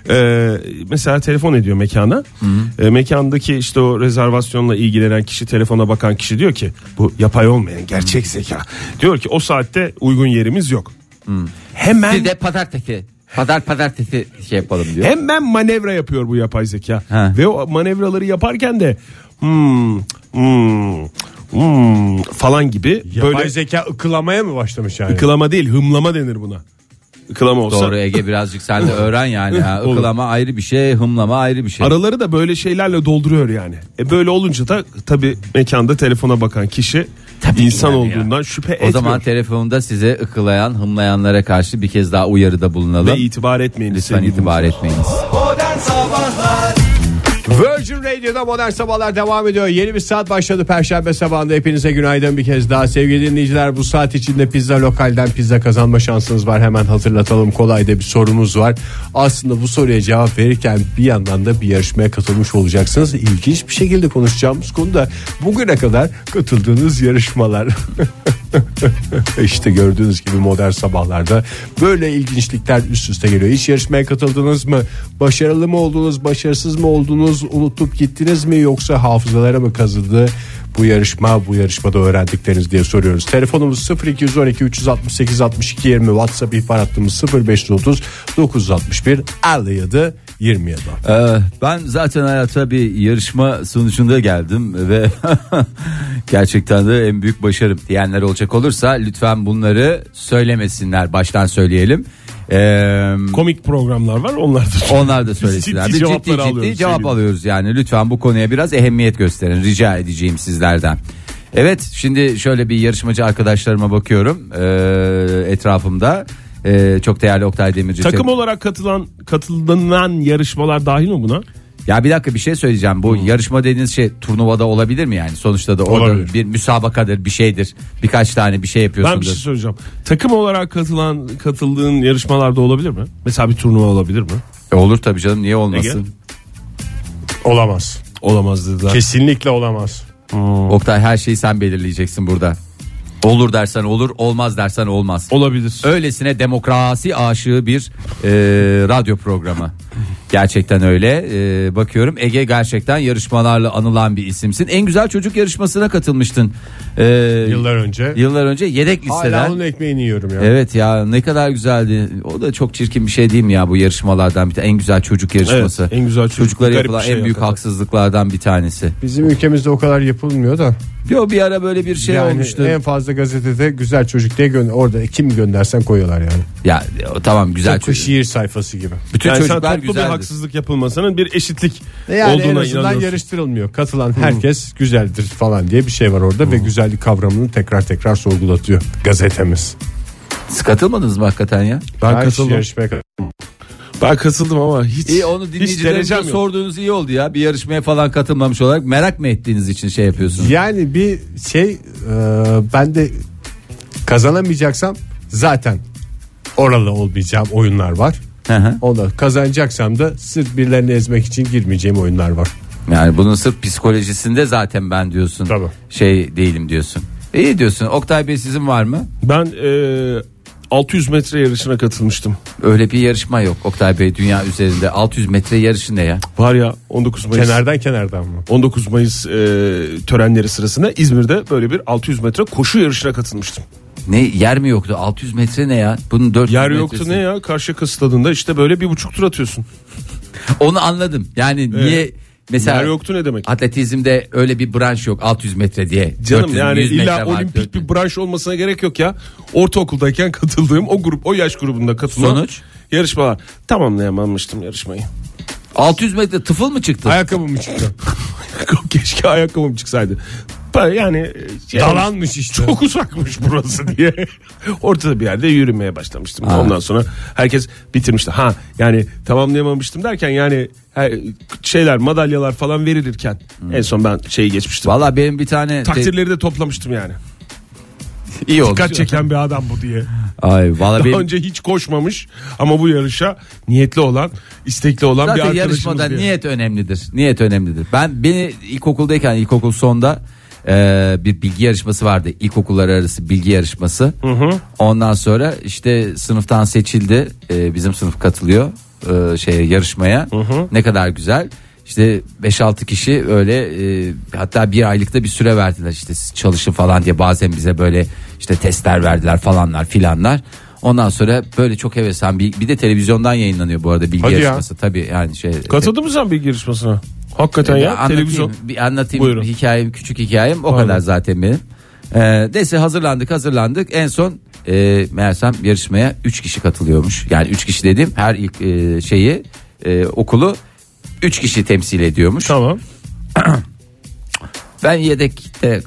E, mesela telefon ediyor mekana. E, mekandaki işte o rezervasyonla ilgilenen kişi telefona bakan kişi diyor ki bu yapay olmayan gerçek zeka. Diyor ki o saatte uygun yerimiz yok. Hemen Bir de pazartesi. Pazar pazartesi şey yapalım diyor. Hemen manevra yapıyor bu yapay zeka. Ha. Ve o manevraları yaparken de hmm, hmm, hmm falan gibi Yapay böyle zeka ıkılamaya mı başlamış yani? ıkılama değil hımlama denir buna. Ikılama olsa. Doğru Ege birazcık sen de öğren yani. Ha, Olur. Iklama ayrı bir şey, hımlama ayrı bir şey. Araları da böyle şeylerle dolduruyor yani. E böyle olunca da tabii mekanda telefona bakan kişi Tabii ki insan yani ya. olduğundan şüphe O etmiyor. zaman telefonda size ıkılayan, hımlayanlara karşı bir kez daha uyarıda Ve bulunalım. itibar etmeyin. Lütfen sevgili itibar etmeyiniz. Virgin Radio'da modern sabahlar devam ediyor. Yeni bir saat başladı Perşembe sabahında. Hepinize günaydın bir kez daha. Sevgili dinleyiciler bu saat içinde pizza lokalden pizza kazanma şansınız var. Hemen hatırlatalım kolayda bir sorumuz var. Aslında bu soruya cevap verirken bir yandan da bir yarışmaya katılmış olacaksınız. İlginç bir şekilde konuşacağımız konu da bugüne kadar katıldığınız yarışmalar. işte gördüğünüz gibi modern sabahlarda böyle ilginçlikler üst üste geliyor. Hiç yarışmaya katıldınız mı? Başarılı mı oldunuz? Başarısız mı oldunuz? Unutup gittiniz mi? Yoksa hafızalara mı kazıldı? Bu yarışma bu yarışmada öğrendikleriniz diye soruyoruz. Telefonumuz 0212 368 62 20 WhatsApp ihbar hattımız 0530 961 57 27. Ee, ben zaten hayata bir yarışma sonucunda geldim ve gerçekten de en büyük başarım diyenler olacak olursa lütfen bunları söylemesinler baştan söyleyelim. Ee, Komik programlar var onlardır. onlar da söylesinler. ciddi Biz cevapları alıyoruz cevap sevgili. alıyoruz yani lütfen bu konuya biraz ehemmiyet gösterin rica edeceğim sizlerden. Evet şimdi şöyle bir yarışmacı arkadaşlarıma bakıyorum ee, etrafımda. Ee, çok değerli Oktay Demirci. Takım olarak katılan katılınan yarışmalar dahil mi buna? Ya bir dakika bir şey söyleyeceğim. Bu yarışma dediğiniz şey turnuvada olabilir mi yani? Sonuçta da orada Olabilir. bir müsabakadır, bir şeydir. Birkaç tane bir şey Ben bir yapıyorsundur. şey söyleyeceğim. Takım olarak katılan katıldığın yarışmalarda olabilir mi? Mesela bir turnuva olabilir mi? E olur tabii canım niye olmasın? Ege? Olamaz. Olamaz dediler. Kesinlikle olamaz. Oktay her şeyi sen belirleyeceksin burada. Olur dersen olur, olmaz dersen olmaz. Olabilir. Öylesine demokrasi aşığı bir e, radyo programı. Gerçekten öyle. E, bakıyorum Ege gerçekten yarışmalarla anılan bir isimsin. En güzel çocuk yarışmasına katılmıştın. E, Yıllar önce. E- yıllar önce yedek listeden. Hala onun ekmeğini yiyorum ya. Evet ya ne kadar güzeldi. O da çok çirkin bir şey değil mi ya bu yarışmalardan bir tane. En güzel çocuk yarışması. Evet, en güzel çocuk. Çocuklara Garip yapılan bir şey en büyük hakikaten. haksızlıklardan bir tanesi. Bizim ülkemizde o kadar yapılmıyor da. Yo bir ara böyle bir şey yani olmuştu. e, En fazla gazetede güzel çocuk diye gönder orada kim göndersen koyuyorlar yani. Ya o tamam güzel Tıpkı çocuk. şiir sayfası gibi. Bütün yani sen çocuklar toplu bir güzeldir. haksızlık yapılmasının bir eşitlik E Yani en olduğuna azından inanıyorsun. yarıştırılmıyor. Katılan herkes güzeldir falan diye bir şey var orada ve güzellik kavramını tekrar tekrar sorgulatıyor gazetemiz. Siz katılmadınız mı hakikaten ya? Ben hiç katıldım. yarışmaya kat- Ben katıldım ama hiç İyi onu hiç dinleyicilerimize derecem yok. sorduğunuz iyi oldu ya. Bir yarışmaya falan katılmamış olarak merak mı ettiğiniz için şey yapıyorsunuz? Yani bir şey e, ben de kazanamayacaksam zaten oralı olmayacağım oyunlar var. Hı hı. Onda kazanacaksam da sırf birilerini ezmek için girmeyeceğim oyunlar var. Yani bunun sırf psikolojisinde zaten ben diyorsun. Tabii. Şey değilim diyorsun. İyi diyorsun. Oktay Bey sizin var mı? Ben e, 600 metre yarışına katılmıştım. Öyle bir yarışma yok Oktay Bey dünya üzerinde 600 metre yarışı ne ya? Var ya 19 Mayıs. Kenardan kenardan mı? 19 Mayıs e, törenleri sırasında İzmir'de böyle bir 600 metre koşu yarışına katılmıştım. Ne yer mi yoktu 600 metre ne ya? Bunun 400 Yer yoktu metresi. ne ya? Karşıyaka stadında işte böyle bir buçuk tur atıyorsun. Onu anladım yani niye mesela Yer yoktu ne demek? atletizmde öyle bir branş yok 600 metre diye. Canım 400, yani 100 metre illa var, olimpik 400. bir branş olmasına gerek yok ya. Ortaokuldayken katıldığım o grup o yaş grubunda katılan Sonuç? yarışmalar. Tamamlayamamıştım yarışmayı. 600 metre tıfıl mı çıktı? Ayakkabı mı çıktı? Keşke ayakkabım çıksaydı. Ben Yani e, Dalanmış işte. çok uzakmış burası diye ortada bir yerde yürümeye başlamıştım. Ondan sonra herkes bitirmişti. Ha yani tamamlayamamıştım derken yani he- şeyler madalyalar falan verilirken en son ben şeyi geçmiştim. Valla benim bir tane Takdirleri de toplamıştım yani. te- iyi oldu. Dikkat çeken bir adam bu diye. Ay valla Daha benim önce hiç koşmamış ama bu yarışa niyetli olan, istekli olan bir Zaten arkadaşımız. yarışmada diye. niyet önemlidir. Niyet önemlidir. Ben beni ilkokuldayken ilkokul sonda e, bir bilgi yarışması vardı. İlkokullar arası bilgi yarışması. Ondan sonra işte sınıftan seçildi. E, bizim sınıf katılıyor e, şeye yarışmaya. Ne kadar güzel. İşte 5-6 kişi öyle e, hatta bir aylıkta bir süre verdiler işte siz çalışın falan diye bazen bize böyle işte testler verdiler falanlar filanlar. Ondan sonra böyle çok heveslen bir, bir de televizyondan yayınlanıyor bu arada bilgi Hadi ya. yarışması. Tabii yani şey. e, Katıldın mı sen bilgi yarışmasına? Hakikaten Bir ya anlatayım, televizyon. Bir anlatayım Buyurun. hikayem küçük hikayem o Pardon. kadar zaten benim. Ee, neyse hazırlandık hazırlandık en son e, meğersem yarışmaya 3 kişi katılıyormuş. Yani 3 kişi dediğim her ilk e, şeyi e, okulu 3 kişi temsil ediyormuş. Tamam. Ben yedekte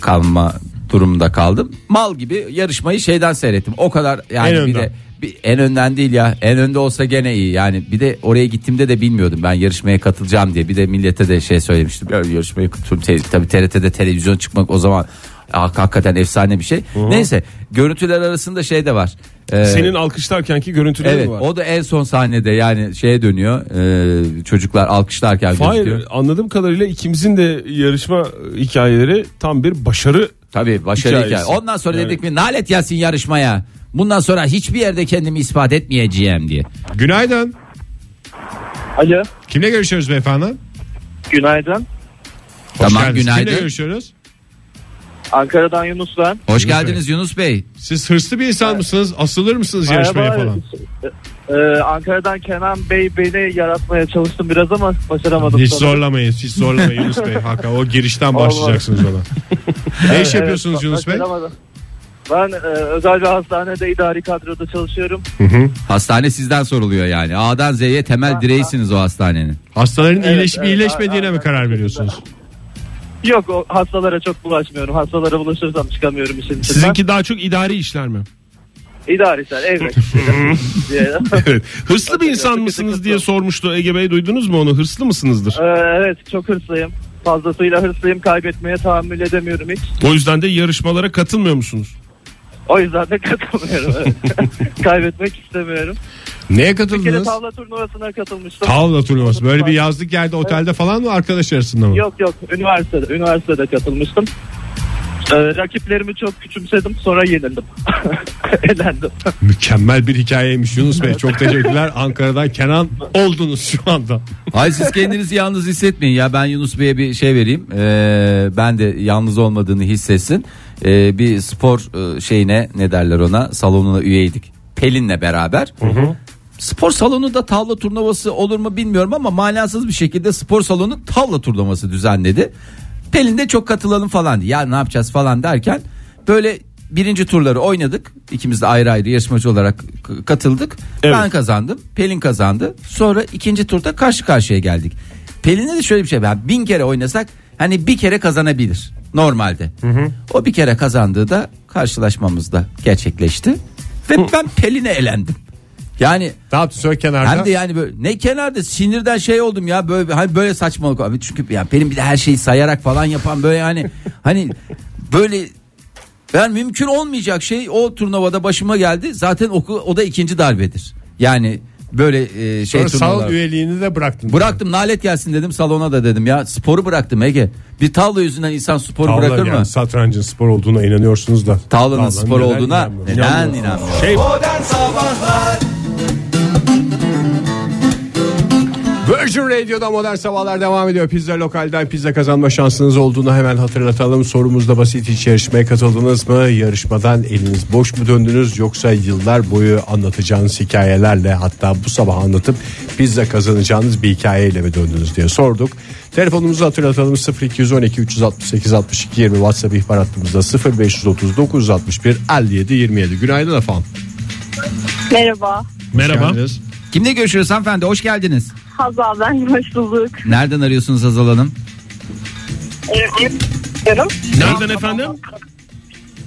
kalma durumda kaldım. Mal gibi yarışmayı şeyden seyrettim. O kadar yani En bir önden. de bir- en önden değil ya. En önde olsa gene iyi. Yani bir de oraya gittiğimde de bilmiyordum ben yarışmaya katılacağım diye. Bir de millete de şey söylemiştim. Ya yarışmaya katılıyorum. Te- Tabii TRT'de televizyon çıkmak o zaman hak- hakikaten efsane bir şey. Neyse görüntüler arasında şey de var. Ee, Senin alkışlarkenki görüntüleri Evet mi var? o da en son sahnede yani şeye dönüyor Ee, çocuklar alkışlarken Hayır gözüküyor. anladığım kadarıyla ikimizin de yarışma hikayeleri tam bir başarı. Tabii başarı Hikayesi. hikaye. Ondan sonra Yani- dedik mi nalet gelsin yarışmaya. Bundan sonra hiçbir yerde kendimi ispat etmeyeceğim diye. Günaydın. Alo. Kimle görüşüyoruz beyefendi? Günaydın. Hoş tamam geldiniz. Kimle günaydın. görüşüyoruz? Ankara'dan Yunus ben. Hoş geldiniz Yunus Bey. Siz hırslı bir insan mısınız? Asılır mısınız yarışmaya Merhaba. falan? Ee, Ankara'dan Kenan Bey beni yaratmaya çalıştım biraz ama başaramadım. Hiç sanırım. zorlamayın. Hiç zorlamayın Yunus Bey. Hakikaten o girişten başlayacaksınız ona. ne iş Evet, yapıyorsunuz Yunus Bey? başaramadım. Ben e, özel bir hastanede idari kadroda çalışıyorum. Hastane sizden soruluyor yani. A'dan Z'ye temel direğisiniz o hastanenin. Hastaların Evet, iyileşip evet, iyileşmediğine aynen. mi karar veriyorsunuz? Yok o hastalara çok bulaşmıyorum. Hastalara bulaşırsam çıkamıyorum işin içinden. Sizinki daha çok idari işler mi? İdarisel evet. Diye. Evet. Hırslı bir Hakikaten insan çok mısınız sıkıntı. diye sormuştu Ege Bey duydunuz mu onu? Hırslı mısınızdır? Ee, evet çok hırslıyım. Fazlasıyla hırslıyım. Kaybetmeye tahammül edemiyorum hiç. O yüzden de yarışmalara katılmıyor musunuz? O yüzden de katılmıyorum. evet. Kaybetmek istemiyorum. Neye Bir kere katıldınız? tavla turnuvasına katılmıştım. Tavla turnuvası. Böyle bir yazlık yerde otelde falan mı arkadaş arasında mı? Yok yok üniversitede üniversitede katılmıştım. Ee, rakiplerimi çok küçümsedim sonra yenildim. Elendim. Mükemmel bir hikayeymiş Yunus Bey. Çok teşekkürler. Ankara'dan Kenan oldunuz şu anda. Hayır siz kendinizi yalnız hissetmeyin ya ben Yunus Bey'e bir şey vereyim Ee, ben de yalnız olmadığını hissetsin Ee, bir spor e, şeyine ne derler ona salonuna üyeydik Pelin'le beraber spor salonunda tavla turnuvası olur mu bilmiyorum ama manasız bir şekilde spor salonu tavla turnuvası düzenledi Pelin de çok katılalım falan diye. ya ne yapacağız falan derken böyle birinci turları oynadık ikimiz de ayrı ayrı yarışmacı olarak k- katıldık Evet. ben kazandım. Pelin kazandı. Sonra ikinci turda karşı karşıya geldik. Pelin'e de şöyle bir şey. Ben bin kere oynasak hani bir kere kazanabilir normalde. O bir kere kazandığı da karşılaşmamızda gerçekleşti. Ve ben Pelin'e elendim. Yani Tamam söyle kenarda. hem de yani böyle ne kenarda sinirden şey oldum ya böyle hani böyle saçmalık abi çünkü yani benim bir de her şeyi sayarak falan yapan böyle yani hani böyle yani mümkün olmayacak şey o turnuvada başıma geldi. Zaten oku, o da ikinci darbedir. Yani böyle e, şey Sonra salon turnuvalar. üyeliğini de bıraktın. Bıraktım nalet gelsin dedim salona da dedim ya sporu bıraktım Ege. Bir tavla yüzünden insan sporu Tavla bırakır yani mı? satrancın spor olduğuna inanıyorsunuz da. Tavlanın Tavlanın spor neden olduğuna inanmıyorum? neden inanmıyorum? Virgin Radio'da modern sabahlar devam ediyor. Pizza lokalden pizza kazanma şansınız olduğunu hemen hatırlatalım. Sorumuz da basit hiç yarışmaya katıldınız mı? Yarışmadan eliniz boş mu döndünüz? Yoksa yıllar boyu anlatacağınız hikayelerle hatta bu sabah anlatıp pizza kazanacağınız bir hikayeyle mi döndünüz diye sorduk. Telefonumuzu hatırlatalım 0212 368 62 20 WhatsApp ihbar hattımızda 0539 61 57 27. Günaydın efendim. Merhaba. Merhaba. Geldiniz. Kimle görüşüyoruz hanımefendi hoş geldiniz. Hazal ben hoş bulduk. Nereden arıyorsunuz Hazal Hanım? Diyorum. Nereden efendim?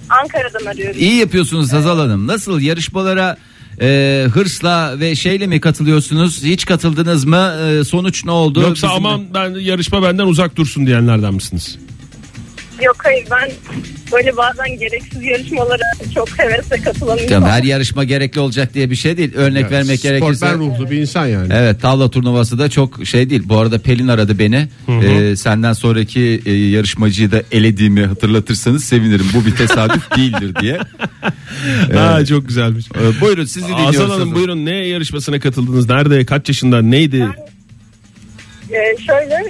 Ankara'dan arıyorum. İyi yapıyorsunuz Hazal Hanım. Nasıl yarışmalara e, hırsla ve şeyle mi katılıyorsunuz? Hiç katıldınız mı? E, sonuç ne oldu? Yoksa Bizim- aman ben yarışma benden uzak dursun diyenlerden misiniz? Yok hayır ben böyle bazen gereksiz yarışmalara çok hevesle katılan Canım, her insanım. yarışma gerekli olacak diye bir şey değil. Örnek vermek gerekirse. Sportmen ruhlu bir insan yani. Evet tavla turnuvası da çok şey değil. Bu arada Pelin aradı beni. E, senden sonraki e, yarışmacıyı da elediğimi hatırlatırsanız sevinirim. Bu bir tesadüf değildir diye. Ha, çok güzelmiş. E, buyurun sizi dinliyoruz. Azal Hanım buyurun ne yarışmasına katıldınız? Nerede? Kaç yaşında? Neydi? Ee, şöyle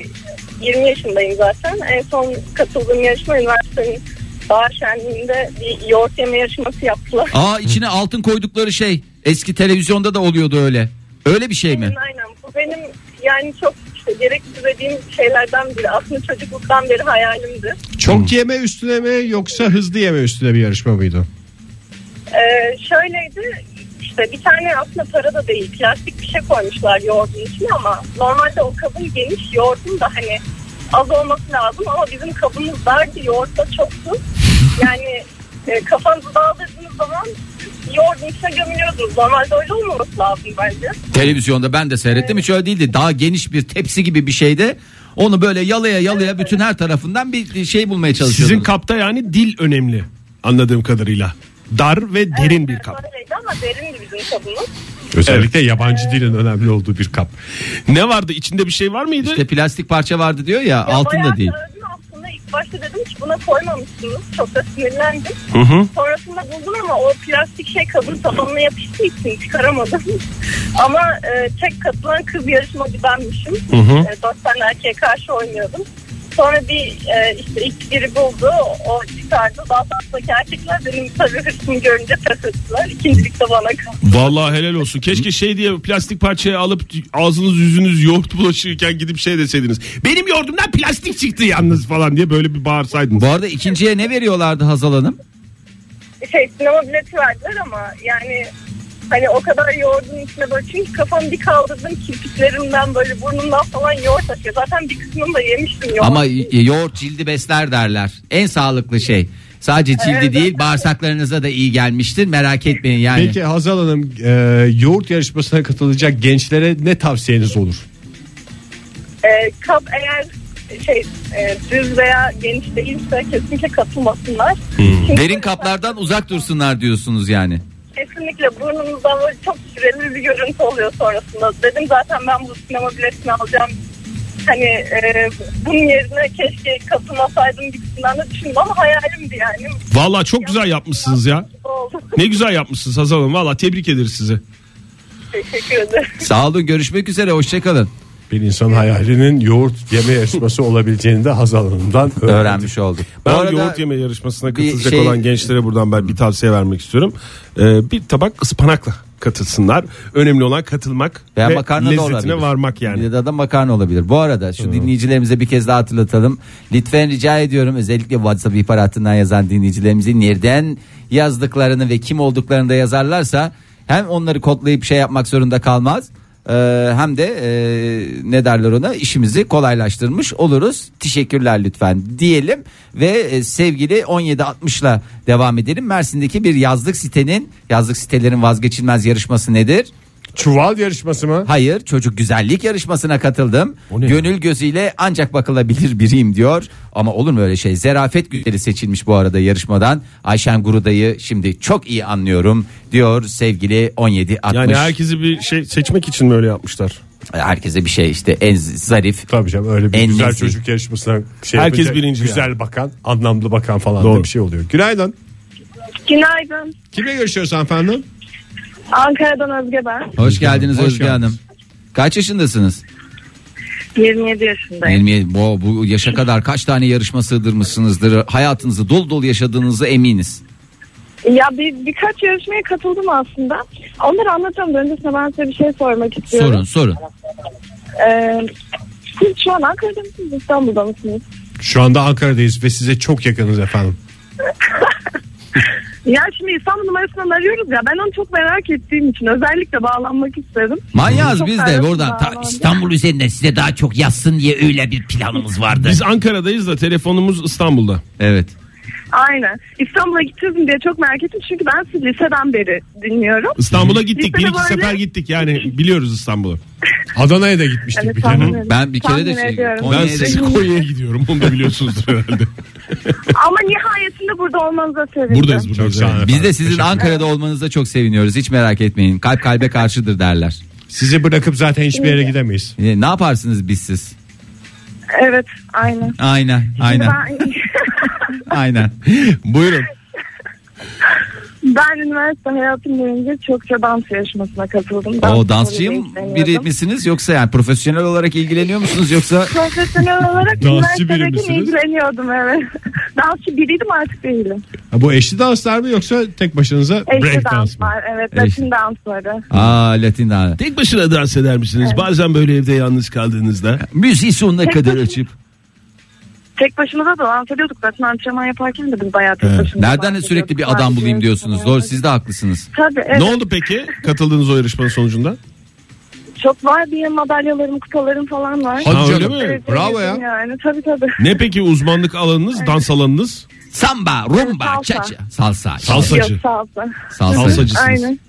20 yaşındayım zaten. En son katıldığım yarışma üniversitenin bahar şenliğinde bir yoğurt yeme yarışması yaptılar. Aa içine altın koydukları şey. Eski televizyonda da oluyordu öyle. Öyle bir şey mi? Aynen, aynen. Bu benim yani çok işte gereksiz dediğim şeylerden biri. Aslında çocukluktan beri hayalimdi. Çok yeme üstüne mi yoksa hızlı yeme üstüne bir yarışma mıydı? Ee, şöyleydi işte bir tane aslında para da değil plastik bir şey koymuşlar yoğurdun içine ama normalde o kabın geniş yoğurdun da hani az olması lazım ama bizim kabımız dardı yoğurt da çoktu. Yani e, kafanızı dağıldırdığınız zaman yoğurdun içine gömülüyordunuz. Normalde öyle olmaması lazım bence. Televizyonda ben de seyrettim hiç öyle değildi. Daha geniş bir tepsi gibi bir şeyde onu böyle yalaya yalaya bütün her tarafından bir şey bulmaya Sizin çalışıyordunuz. kapta yani dil önemli anladığım kadarıyla. Dar ve derin bir kap. Öyleydi ama derindi bizim kabımız. Özellikle yabancı dilin önemli olduğu bir kap. Ne vardı içinde bir şey var mıydı? İşte plastik parça vardı diyor ya, altında Bayağı değil. sağırdım aslında ilk başta dedim ki buna koymamışsınız. Çok da sinirlendim. Sonrasında buldum ama o plastik şey kabın tabanına yapıştığı için çıkaramadım. ama e, tek katılan kız yarışmacı benmişim. E, 90 erkeğe karşı oynuyordum. Sonra bir e, işte ilk biri buldu. O çıkardı. Daha sonrasındaki erkekler benim tabii hırsımı görünce pes ettiler. İkincilik de bana kaldı. Vallahi helal olsun. Keşke şey diye plastik parçayı alıp ağzınız yüzünüz yoğurt bulaşırken gidip şey deseydiniz. Benim yoğurdumdan plastik çıktı yalnız falan diye böyle bir bağırsaydınız. Bu arada ikinciye ne veriyorlardı Hazal Hanım? şey sinema bileti verdiler ama yani hani o kadar yoğurdun içine böyle çünkü kafamı bir kaldırdım kirpiklerimden böyle burnumdan falan yoğurt akıyor. Zaten bir kısmını da yemiştim yoğurt. Ama y- yoğurt cildi besler derler. En sağlıklı şey. Sadece cildi Evet. değil bağırsaklarınıza da iyi gelmiştir. Merak etmeyin yani. Peki Hazal Hanım e, yoğurt yarışmasına katılacak gençlere ne tavsiyeniz olur? Ee, kap eğer şey e, düz veya geniş değilse kesinlikle katılmasınlar. Çünkü Hmm. Derin kaplardan uzak dursunlar diyorsunuz yani. Kesinlikle burnumuzdan böyle çok süreli bir görüntü oluyor sonrasında. Dedim zaten ben bu sinema biletini alacağım. Hani e, bunun yerine keşke katılmasaydım gibisinden de düşündüm ama hayalimdi yani. Valla çok güzel yapmışsınız ya. Oldu. Ne güzel yapmışsınız Hazal Hanım. Valla tebrik ederiz sizi. Teşekkür ederim. Sağ olun görüşmek üzere hoşçakalın. Bir insan hayalinin yoğurt yeme yarışması olabileceğini de Hazal Hanım'dan öğrendim. Öğrenmiş olduk. Ben Bu arada- yoğurt yeme yarışmasına bir katılacak şey- olan gençlere buradan ben bir tavsiye vermek istiyorum. Ee, bir tabak ıspanakla katılsınlar. Önemli olan katılmak Veya ve makarna da lezzetine olabilir. varmak yani. Ya da, da makarna olabilir. Bu arada şu dinleyicilerimize bir kez daha hatırlatalım. Lütfen rica ediyorum özellikle WhatsApp ihbar hattından yazan dinleyicilerimizi nereden yazdıklarını ve kim olduklarını da yazarlarsa hem onları kodlayıp şey yapmak zorunda kalmaz. e, hem de e, ne derler ona işimizi kolaylaştırmış oluruz. Teşekkürler lütfen diyelim ve e, sevgili 1760'la devam edelim. Mersin'deki bir yazlık sitenin yazlık sitelerin vazgeçilmez yarışması nedir? Çuval yarışması mı? Hayır çocuk güzellik yarışmasına katıldım. ne Gönül gözüyle ancak bakılabilir biriyim diyor. Ama olur mu öyle şey? Zerafet güzeli seçilmiş bu arada yarışmadan. Ayşen Guruda'yı şimdi çok iyi anlıyorum diyor sevgili 1760. Yani herkesi bir şey seçmek için mi öyle yapmışlar? Herkese bir şey işte en zarif. Tabii canım öyle bir En güzel nezih. çocuk yarışmasına şey Herkes yapacak, birinci Güzel bakan, anlamlı bakan falan Doğru. da bir şey oluyor. Günaydın. Günaydın. Kimle görüşüyoruz efendim? Ankara'dan Özge ben. Hoş geldiniz Hoş Özge geldiniz. Hanım. Kaç yaşındasınız? 27 yaşındayım. 27. Bu, bu yaşa kadar kaç tane yarışma sığdırmışsınızdır? Hayatınızı dolu dolu yaşadığınızı eminiz. Ya bir, birkaç yarışmaya katıldım aslında. Onları anlatamam. Öncesinde ben size bir şey sormak istiyorum. Sorun sorun. Ee, siz şu an Ankara'da mısınız İstanbul'da mısınız? Şu anda Ankara'dayız ve size çok yakınız efendim. Ya şimdi İstanbul numarasından arıyoruz ya ben onu çok merak ettiğim için özellikle bağlanmak istedim. Manyağız Çok biz de ferah buradan ta bağlandı. İstanbul üzerinden size daha çok yazsın diye öyle bir planımız vardı. Biz Ankara'dayız da telefonumuz İstanbul'da. Evet. Aynen. İstanbul'a gideceğiz mi diye çok merak ettim çünkü ben sizi liseden beri dinliyorum. İstanbul'a gittik. Lisede Bir iki böyle- sefer gittik. Yani biliyoruz İstanbul'u. Adana'ya da gitmiştik Yani bir kere. tahmin ediyorum. Ben bir kere de Tahmin şey- ediyorum. Konya- Ben Konya'ya da sizi gittik. Konya'ya gidiyorum. Onu da biliyorsunuzdur herhalde. Ama nihayetinde burada olmanıza sevindim. Buradayız Çok buradayız. sağ olun. Biz de sizin Ankara'da olmanıza çok seviniyoruz. Hiç merak etmeyin. Kalp kalbe karşıdır derler. Sizi bırakıp zaten hiçbir yere gidemeyiz. E, Ne yaparsınız bizsiz? Evet aynen. Aynen, aynen, Ben, aynen. Buyurun. ben üniversite hayatım boyunca çokça dans yarışmasına katıldım. Dans O dansçıyım kulübüne biri ekleniyordum. misiniz yoksa yani profesyonel olarak ilgileniyor musunuz yoksa Profesyonel olarak Dansçı biri üniversitedeki misiniz? ilgileniyordum evet. Dansçı biriydim artık değilim. Ha, bu eşli danslar mı yoksa tek başınıza Eşli break dans dans mı? var evet. Eşli. Latin dansları. Aa Latin daha. Tek başına dans eder misiniz? Bazen böyle evde yalnız kaldığınızda. Müziği sonuna kadar açıp. Tek başımıza da dans ediyorduk. Zaten antrenman yaparken de biz bayağı tek başımıza Nereden dans sürekli ediyorduk. bir adam bulayım Dans diyorsunuz. Doğru ediyorduk. siz de haklısınız. Tabii evet. Ne oldu peki katıldığınız o yarışmanın sonucunda? Çok var diye madalyalarım, kupalarım falan var. Hadi Ha, öyle canım. mi? Evet, Bravo evet, ya. Yani tabii tabii. Ne peki uzmanlık alanınız, dans alanınız? Samba, rumba, Salsa. cha-cha. Salsa. Salsacı. Yok salsa. Salsacı. Salsacısınız. Aynen.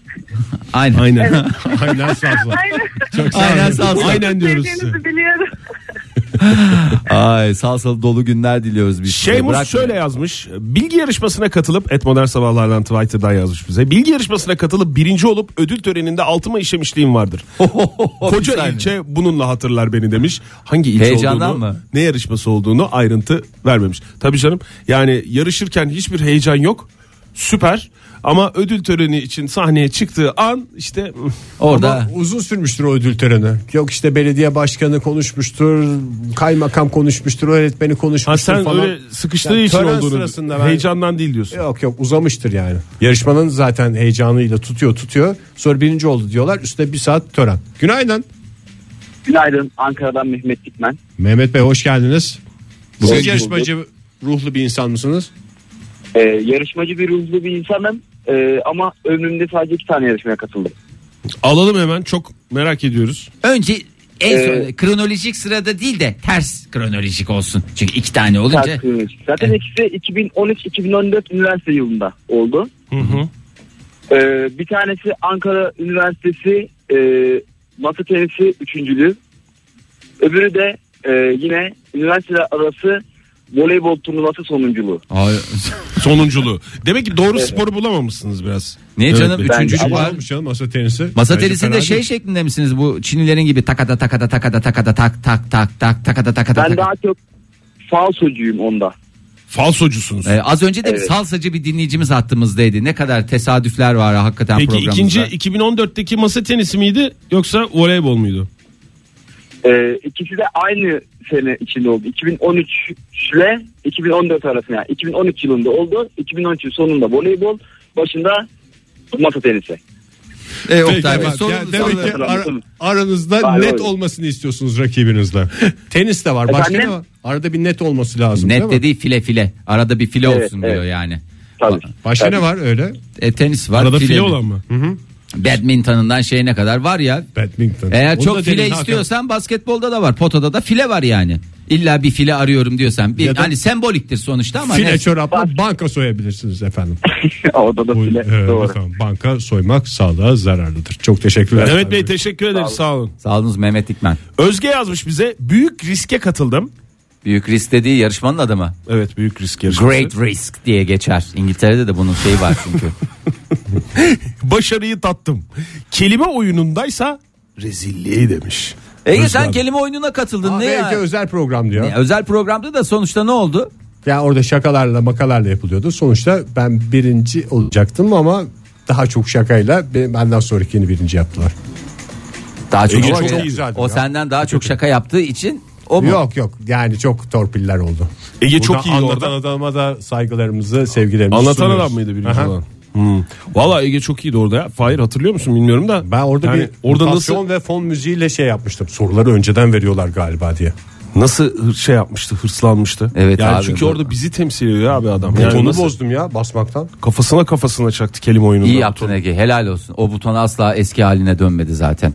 Aynen. Aynen. Aynen. Aynen salsa. Aynen. Aynen salsa. Aynen diyoruz size. Sevdiğinizi biliyorum. Ay salsalı dolu günler diliyoruz biz. size. Şeymus Bırakmayın. şöyle yazmış. Bilgi yarışmasına katılıp et modern sabahlardan Twitter'dan yazmış bize. Bilgi yarışmasına katılıp birinci olup ödül töreninde altıma işemişliğim vardır. Bir Koca saniye. ilçe bununla hatırlar beni demiş. Hangi ilçe Heyecandan olduğunu, mı? ne yarışması olduğunu ayrıntı vermemiş. Tabii canım yani yarışırken hiçbir heyecan yok. Süper. Ama ödül töreni için sahneye çıktığı an işte Orada Uzun sürmüştür o ödül töreni. Yok işte belediye başkanı konuşmuştur, kaymakam konuşmuştur, öğretmeni ha konuşmuştur sen falan. öyle sıkıştığı Yani için tören olduğunu sırasında ben- heyecandan değil diyorsun. Yok yok uzamıştır yani. Yarışmanın zaten heyecanıyla tutuyor tutuyor. Sonra birinci oldu diyorlar. Üstüne bir saat tören. Günaydın. Günaydın Ankara'dan Mehmet Dikmen. Mehmet Bey hoş geldiniz. Hoş Siz bulduk. yarışmacı ruhlu bir insan mısınız? Ee, yarışmacı bir ruhlu bir insanım Ee, ama ömrümde sadece iki tane yarışmaya katıldım. Alalım hemen çok merak ediyoruz. önce en son Ee, kronolojik sırada değil de ters kronolojik olsun. Çünkü iki tane olunca Takvim. Zaten Evet. ikisi 2013-2014 üniversite yılında oldu. Hı hı. Ee, bir tanesi Ankara Üniversitesi e, masa tenisi üçüncülüğü. Öbürü de e, yine üniversiteler arası voleybol turnuvası sonunculuğu. Ay, Sonunculuğu. Demek ki doğru sporu bulamamışsınız biraz. Niye Evet, canım? bence. Üçüncü Ama- var. Varmış canım masa tenisi. Masa Bence tenisinde fena şey değil. şeklinde misiniz bu Çinlilerin gibi takada takada takada takada tak tak tak tak takada takada Ben takada. daha çok falsocuyum onda. Falsocusunuz. Ee, az önce de bir Evet. salsacı bir dinleyicimiz hattımızdaydı. Ne kadar tesadüfler var ha, hakikaten Peki programımızda. Ee, ikinci 2014'teki masa tenisi miydi yoksa voleybol muydu? Ee, ikisi de aynı sene içinde oldu. 2013 ile 2014 arasında yani 2013 yılında oldu. 2013 sonunda voleybol, başında masa tenisi. Ee, Peki, Oktay Bey, bak, sorun- yani demek sorun- ki ara- aranızda Hayır, net hayır. olmasını istiyorsunuz rakibinizle. Tenis de var. Başka Efendim? ne var? Arada bir net olması lazım. Net değil mi? dediği file file. Arada bir file Evet, olsun evet. diyor yani. Tabii. Başka Tabii. ne var öyle? E, tenis var. Arada file olan mı? Badminton'undan şeyine kadar var ya. Badminton. Eğer Onu da çok file demin Hakan- istiyorsan basketbolda da var. Potada da file var yani. İlla bir file arıyorum diyorsan. Bir, Ya da- hani semboliktir sonuçta ama. File neyse. çorapla banka soyabilirsiniz efendim. Orada da Bu, bile e, doğru. efendim, banka soymak sağlığa zararlıdır. Çok teşekkürler. Mehmet Bey teşekkür ederiz sağ olun. Sağ olunuz Mehmet Dikmen. Özge yazmış bize büyük riske katıldım. Büyük risk dediği yarışmanın adı mı? Evet büyük risk yarışması. Great risk diye geçer. İngiltere'de de bunun şeyi var çünkü. Başarıyı tattım. Kelime oyunundaysa rezilliği demiş. Ege Özgür sen abi. kelime oyununa katıldın. Aa, ne ya? belki özel program diyor. Ya Özel programda da sonuçta ne oldu? Yani orada şakalarla makalarla yapılıyordu. Sonuçta ben birinci olacaktım ama daha çok şakayla be- benden sonrakini birinci yaptılar. Daha çok, Ege Ama çok o- iyi zaten o ya. senden daha çok şaka yaptığı için o mu? Yok yok yani çok torpiller oldu. Ege Buradan çok iyi anlatan orada. adama da saygılarımızı, sevgilerimizi Anlatan sunuyoruz. adam mıydı birinci Aha. olan? Hmm. Valla Ege çok iyiydi orada ya. Fahir hatırlıyor musun bilmiyorum da. Ben orada Yani bir orada mutasyon nasıl ve fon müziğiyle şey yapmıştım. Soruları önceden veriyorlar galiba diye. nasıl hır- şey yapmıştı, hırslanmıştı. Evet yani abi, çünkü bu- orada bizi temsil ediyor abi adam. Butonu Yani nasıl- bozdum ya basmaktan. Kafasına kafasına çaktı kelime oyununda. İyi yaptın Ege helal olsun. O buton asla eski haline dönmedi zaten.